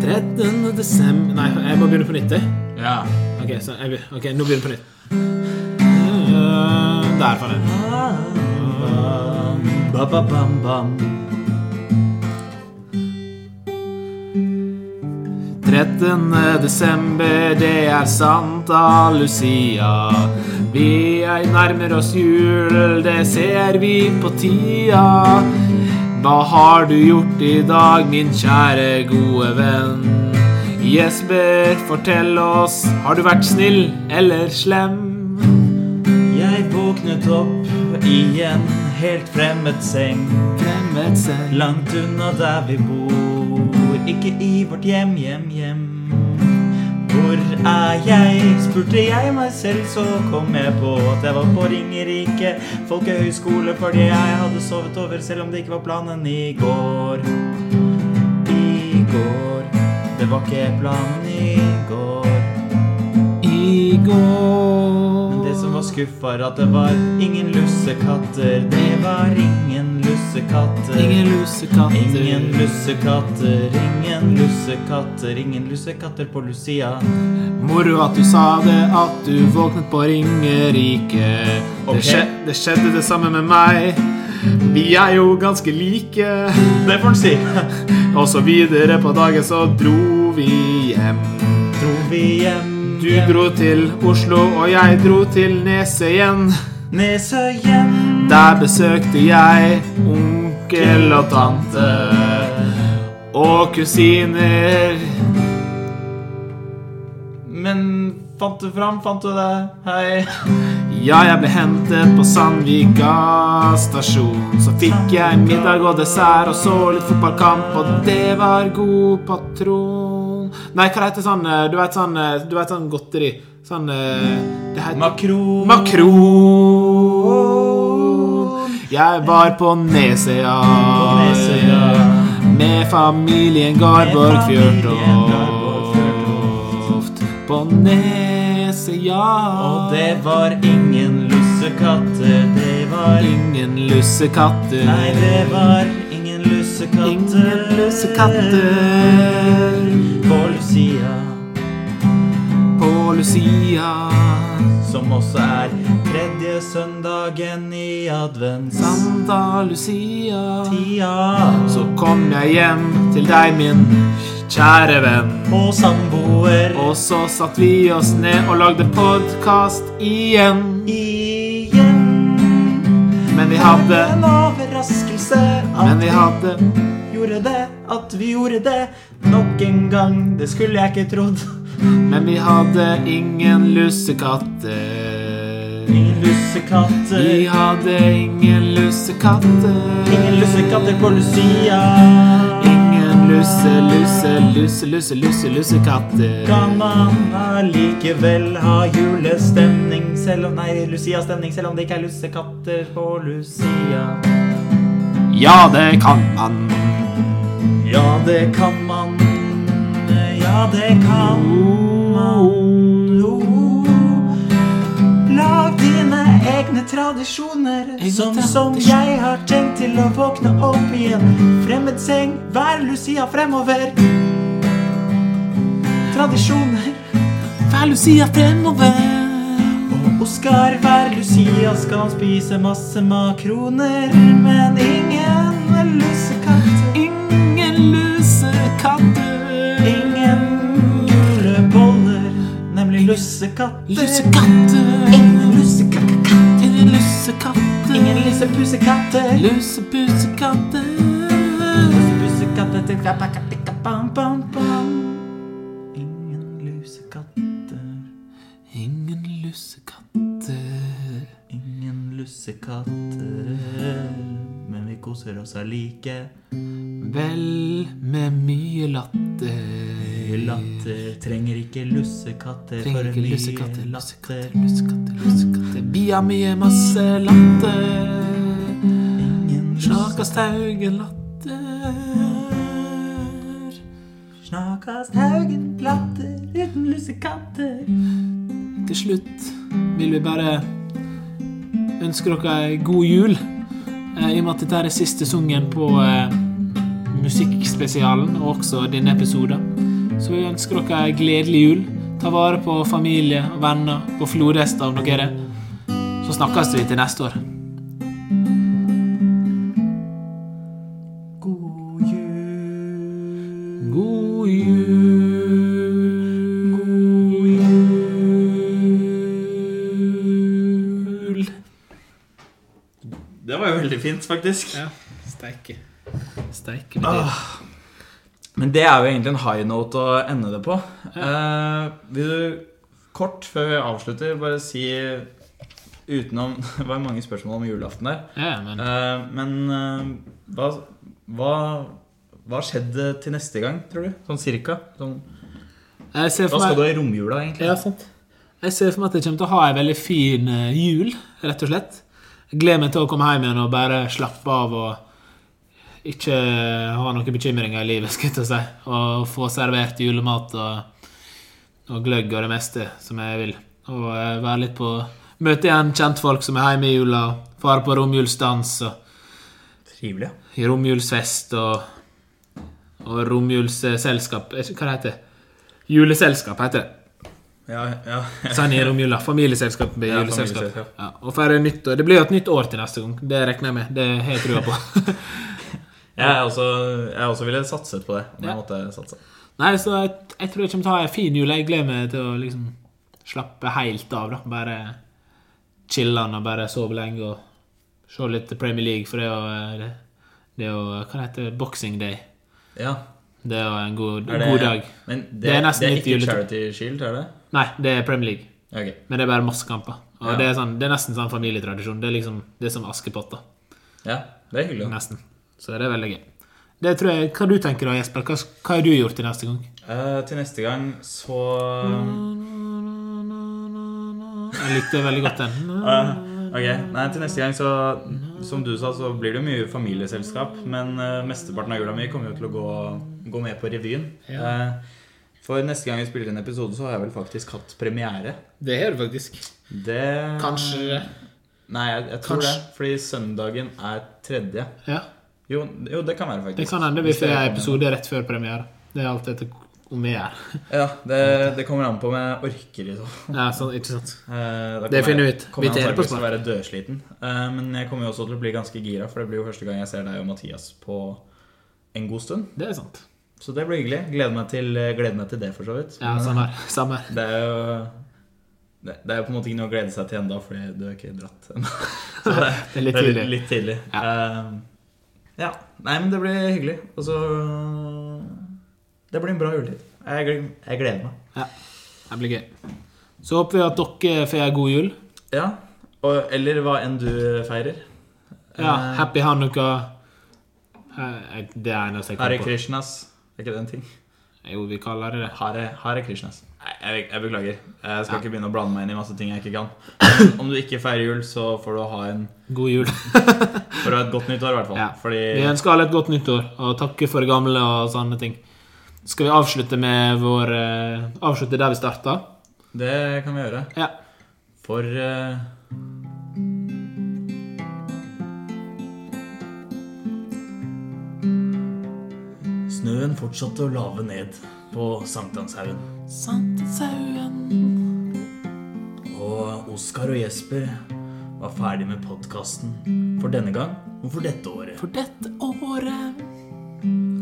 Speaker 2: Trettende desember Nei, jeg må begynne på nytt. jeg.
Speaker 1: ja.
Speaker 2: Ok, så jeg, be- ok, nå begynner jeg på nytt. Eh, Der, faen. jeg.
Speaker 1: Ba, ba, bam, bam.
Speaker 2: 13. eh, desember, det er Santa Lucia. Vi er nærmer oss jul, det ser vi på tida. Hva har du gjort i dag, min kjære, gode venn? Jesper, fortell oss, har du vært snill eller slem?
Speaker 1: Jeg våknet opp i en helt fremmed seng.
Speaker 2: Fremmed seg.
Speaker 1: Langt unna der vi bor, ikke i vårt hjem, hjem, hjem. Hvor er jeg? spurte jeg meg selv, så kom jeg på at jeg var på Ringerike folkehøgskole fordi jeg hadde sovet over, selv om det ikke var planen i går. I går. Det var ikke planen i går.
Speaker 2: I går
Speaker 1: Men det som var skuff, var at det var ingen lussekatter. Det var ingen lussekatter.
Speaker 2: Ingen lussekatter.
Speaker 1: Ingen lussekatter, ingen lussekatter, ingen lussekatter på Lucia.
Speaker 2: Moro at du sa det, at du våknet på Ringerike.
Speaker 1: Ok.
Speaker 2: Det, skje, det skjedde det samme med meg. Vi er jo ganske like.
Speaker 1: Det får en si.
Speaker 2: Og så videre på dagen så dro vi hjem.
Speaker 1: Dro vi hjem,
Speaker 2: Du dro til Oslo, og jeg dro til Neset igjen.
Speaker 1: nese hjem.
Speaker 2: Der besøkte jeg onkel og tante og kusiner.
Speaker 1: Men fant du fram, fant du det? Hei.
Speaker 2: Ja, jeg ble hentet på Sandvika stasjon. Så fikk jeg middag og dessert og så litt fotballkamp, og det var god patron. Nei, hva heter sånn eh, Du vet sånn, eh, du vet, sånn godteri? Sånn eh, Det heter
Speaker 1: Makro.
Speaker 2: Makron. Jeg var på Nesøya.
Speaker 1: Nesøya.
Speaker 2: Med familien Garborg
Speaker 1: Med familien Garborg
Speaker 2: Fjørtoft. På Nesøya.
Speaker 1: Og det var ingen lussekatter, det var
Speaker 2: ingen lussekatter.
Speaker 1: Nei, det var ingen lussekatter.
Speaker 2: ingen lussekatter
Speaker 1: På Lucia,
Speaker 2: på Lucia.
Speaker 1: som også er tredje søndagen i advents.
Speaker 2: Santa Lucia.
Speaker 1: Tida.
Speaker 2: Så kom jeg hjem til deg, min kjære venn.
Speaker 1: og samboer
Speaker 2: Og så satt vi oss ned og lagde podkast igjen.
Speaker 1: igjen.
Speaker 2: Men vi hadde
Speaker 1: en overraskelse at
Speaker 2: Men vi hadde
Speaker 1: gjorde det, at vi gjorde det nok en gang. Det skulle jeg ikke trodd.
Speaker 2: Men vi hadde ingen lussekatter.
Speaker 1: Ingen lussekatter,
Speaker 2: Vi hadde ingen lussekatter.
Speaker 1: ingen lussekatter på Lucia.
Speaker 2: Ingen lusse, lusse, lusse, lusse, lusse, lussekatter.
Speaker 1: Kan man allikevel ha julestemning selv om Nei, Lucia-stemning selv om det ikke er lussekatter på Lucia?
Speaker 2: Ja, det kan man.
Speaker 1: Ja, det kan man. Ja, det kan man. Oh. Lag dine egne tradisjoner,
Speaker 2: Egne
Speaker 1: sånn som
Speaker 2: tradisjoner.
Speaker 1: jeg har tenkt til å våkne opp i en fremmed seng hver Lucia fremover. Tradisjoner.
Speaker 2: Hver Lucia fremover.
Speaker 1: Og Oskar hver Lucia skal han spise masse makroner, men ingen lussekatter.
Speaker 2: Ingen lussekatter.
Speaker 1: Ingen lussekatter.
Speaker 2: Lussekatter.
Speaker 1: Ingen lussekatter.
Speaker 2: Ingen lussekatter.
Speaker 1: Ingen lussepussekatter.
Speaker 2: Lussepusekatter.
Speaker 1: Lussekatter til klappa-kappa-kappa-bam-bam-bam. Ingen lussekatter.
Speaker 2: Ingen lussekatter.
Speaker 1: Ingen lussekatter. Men vi koser oss allike.
Speaker 2: Vel med mye latter.
Speaker 1: Latter trenger ikke lussekatter
Speaker 2: Trenger
Speaker 1: for
Speaker 2: ikke
Speaker 1: mye
Speaker 2: lussekatter, lussekatter,
Speaker 1: latter.
Speaker 2: lussekatter, lussekatter. Bia mi er masse latter.
Speaker 1: Ingen
Speaker 2: Sjaka stauge latter.
Speaker 1: Snakkast haugen latter uten lussekatter.
Speaker 2: Til slutt vil vi bare ønske dere ei god jul. Eh, I og med at dette er siste sungen på eh, musikkspesialen, og også denne episoden, så vil vi ønske dere ei gledelig jul. Ta vare på familie og venner, på flodhester om dere er det. Så snakkes vi til neste år.
Speaker 1: God jul.
Speaker 2: God jul. God jul.
Speaker 1: Det var jo veldig fint, faktisk.
Speaker 2: Ja, steike. Steike betyr
Speaker 1: Åh. Men det er jo egentlig en high note å ende det på. Eh, vil du kort, før vi avslutter, bare si utenom [LAUGHS] Det var mange spørsmål om julaften der.
Speaker 2: Ja, men
Speaker 1: Eh, men eh, hva, hva hva skjedde til neste gang, tror du? Sånn cirka? Sånn,
Speaker 2: jeg ser
Speaker 1: hva
Speaker 2: for
Speaker 1: skal du
Speaker 2: meg
Speaker 1: ha i romjula, egentlig?
Speaker 2: Ja, sant. Jeg ser for meg at jeg kommer til å ha ei veldig fin eh, jul, rett og slett. Jeg gleder meg til å komme hjem igjen og bare slappe av og ikke ha noen bekymringer i livet, skal jeg til å si. Og få servert julemat og, og gløgg og det meste som jeg vil. Og eh, være litt på Møte igjen kjentfolk som er hjemme i jula, fare på romjulsdans og
Speaker 1: Trivelig. ja.
Speaker 2: romjulsfest og, og romjulsselskap Eh, Hva det heter det? Juleselskap heter det.
Speaker 1: Ja, ja.
Speaker 2: Sånn i romjula. Familieselskap blir
Speaker 1: Ja,
Speaker 2: juleselskap.
Speaker 1: familieselskap.
Speaker 2: Ja, og feire nytt år. Det blir jo et nytt år til neste gang. Det regner jeg med. Det har jeg trua på.
Speaker 1: [LAUGHS] Jeg, er også, jeg også ville satset på det. Om jeg
Speaker 2: Ja.
Speaker 1: måtte satse.
Speaker 2: [LAUGHS] Nei, så jeg, jeg tror jeg kommer til å ha en fin jul. Jeg gleder meg til å liksom slappe helt av. da Bare chille'n og bare sove lenge og se litt Premier League, for det er jo det, det er jo, Hva heter det? Boxing Day.
Speaker 1: Ja.
Speaker 2: Det er jo en god,
Speaker 1: er det-
Speaker 2: god dag.
Speaker 1: Men det,
Speaker 2: Det er nesten litt
Speaker 1: ikke
Speaker 2: julete.
Speaker 1: Charity Shield, er det?
Speaker 2: Nei, det er Premier League.
Speaker 1: Ja, ok.
Speaker 2: Men det er bare masse kamper. Og
Speaker 1: Ja.
Speaker 2: det, er sånn, det er nesten sånn familietradisjon. Det er liksom det er som Askepott. da
Speaker 1: Ja, det er hyggelig. da.
Speaker 2: Nesten. Så det er veldig gøy. Det tror jeg, Hva du tenker da, Jesper? Hva, hva har du gjort til neste gang?
Speaker 1: Eh, til neste gang så
Speaker 2: Mm. Jeg likte veldig godt den.
Speaker 1: Eh, Ok, nei, til neste gang så Som du sa, så blir det jo mye familieselskap. Men eh, mesteparten av jula mi kommer jo til å gå, gå med på revyen. Eh, for neste gang vi spiller en episode, så har jeg vel faktisk hatt premiere.
Speaker 2: Det har du faktisk.
Speaker 1: Det
Speaker 2: Kanskje
Speaker 1: Nei, jeg, jeg tror
Speaker 2: Kanskje.
Speaker 1: det. Fordi søndagen er tredje.
Speaker 2: Ja.
Speaker 1: Jo, jo det kan være, faktisk.
Speaker 2: Det kan hende vi
Speaker 1: Hvis det
Speaker 2: får en
Speaker 1: kommer.
Speaker 2: episode rett før premiere. Det er alt etter om vi er
Speaker 1: Ja, det, det kommer an på om jeg orker liksom. i så
Speaker 2: ja, sånn, Ikke sant?
Speaker 1: Eh, da
Speaker 2: Det
Speaker 1: kommer
Speaker 2: finner vi
Speaker 1: jeg-
Speaker 2: ut.
Speaker 1: Kommer
Speaker 2: Vi
Speaker 1: jeg
Speaker 2: tar det på
Speaker 1: antakeligvis til å være dødsliten. Eh, men jeg kommer jo også til å bli ganske gira, for det blir jo første gang jeg ser deg og Mathias på en god stund.
Speaker 2: Det er sant.
Speaker 1: Så det blir hyggelig. Gleder meg til, gleder meg til det, for så vidt.
Speaker 2: Ja,
Speaker 1: Men
Speaker 2: samme her. Samme her.
Speaker 1: Det er jo det, det er jo på en måte ikke noe å glede seg til ennå, fordi du er ikke dratt ennå. [LAUGHS] Så det,
Speaker 2: Det er litt
Speaker 1: det er
Speaker 2: tidlig.
Speaker 1: [LAUGHS] Litt tidlig. Eh, ja. Nei, men det blir hyggelig. Og så Det blir en bra juletid. Jeg, gled- jeg gleder meg.
Speaker 2: Ja. Det blir gøy. Så håper vi at dere får en god jul.
Speaker 1: Ja. Og, eller hva enn du feirer.
Speaker 2: Ja,
Speaker 1: Eh,
Speaker 2: Happy Hanukka. Eh, Det er eneste jeg
Speaker 1: Hare
Speaker 2: kommer på.
Speaker 1: Krishnas. Er ikke det en ting?
Speaker 2: Jo, vi kaller det det.
Speaker 1: Hare, Hare Krishnas. Nei, jeg, jeg beklager. Jeg skal ikke begynne å blande meg inn i masse ting jeg ikke kan. Men om du ikke feirer jul, så får du ha en
Speaker 2: God jul.
Speaker 1: Får du ha et godt nyttår, i hvert fall.
Speaker 2: Ja.
Speaker 1: Fordi
Speaker 2: Vi ønsker alle et godt nyttår og takker for det gamle og sånne ting. Skal vi avslutte med vår eh, Avslutte der vi starta?
Speaker 1: det kan vi gjøre.
Speaker 2: Ja.
Speaker 1: For eh, Snøen fortsatte å lave ned på Sankthanshaugen. Og Oskar og Jesper var ferdig med podkasten for denne gang og for dette året.
Speaker 2: For dette året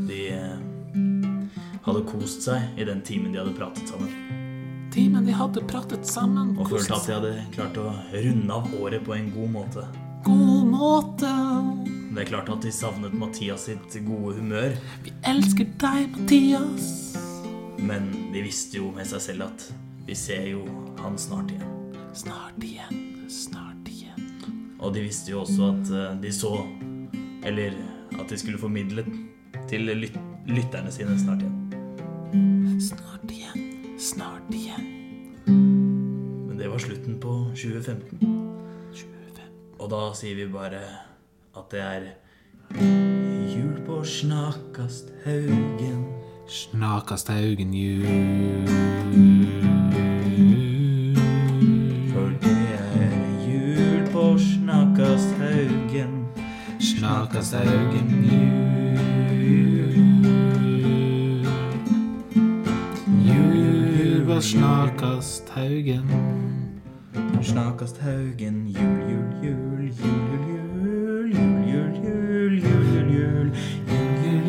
Speaker 1: De eh, hadde kost seg i den timen de hadde pratet sammen.
Speaker 2: Timen de hadde pratet sammen
Speaker 1: Og følte at jeg hadde klart å runde av året på en god måte.
Speaker 2: god måte.
Speaker 1: Det er klart at de savnet Mathias sitt gode humør,
Speaker 2: Vi elsker deg, Mathias.
Speaker 1: men de visste jo med seg selv at vi ser jo han snart igjen.
Speaker 2: Snart igjen, snart igjen.
Speaker 1: Og de visste jo også at eh, de så Eller at de skulle formidle til lyt lytterne sine snart igjen.
Speaker 2: Snart igjen, snart igjen.
Speaker 1: Men det var slutten på 2015,
Speaker 2: 25.
Speaker 1: og da sier vi bare at det er Jul på Snakast Haugen.
Speaker 2: Snakast Haugen jul.
Speaker 1: For det er jul på Snakast Haugen.
Speaker 2: Snakast Haugen jul. Jul var Snakast Haugen.
Speaker 1: Snakast Haugen. Jul, jul, jul. Jul, jul, jul. Jul, jul, jul.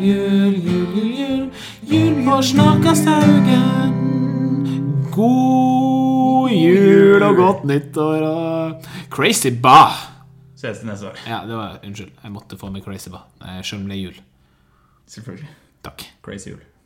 Speaker 1: Jul, jul, jul.
Speaker 2: Jul, jul, jul, jul, jul. Jul var Snakast Haugen. God jul og godt nyttår og Crazy Bah!
Speaker 1: Ses til neste år.
Speaker 2: Ja, det var Unnskyld. Jeg måtte få med Crazy Bah. Eh, Selv om det er jul.
Speaker 1: Selvfølgelig.
Speaker 2: Takk.
Speaker 1: Crazy jul.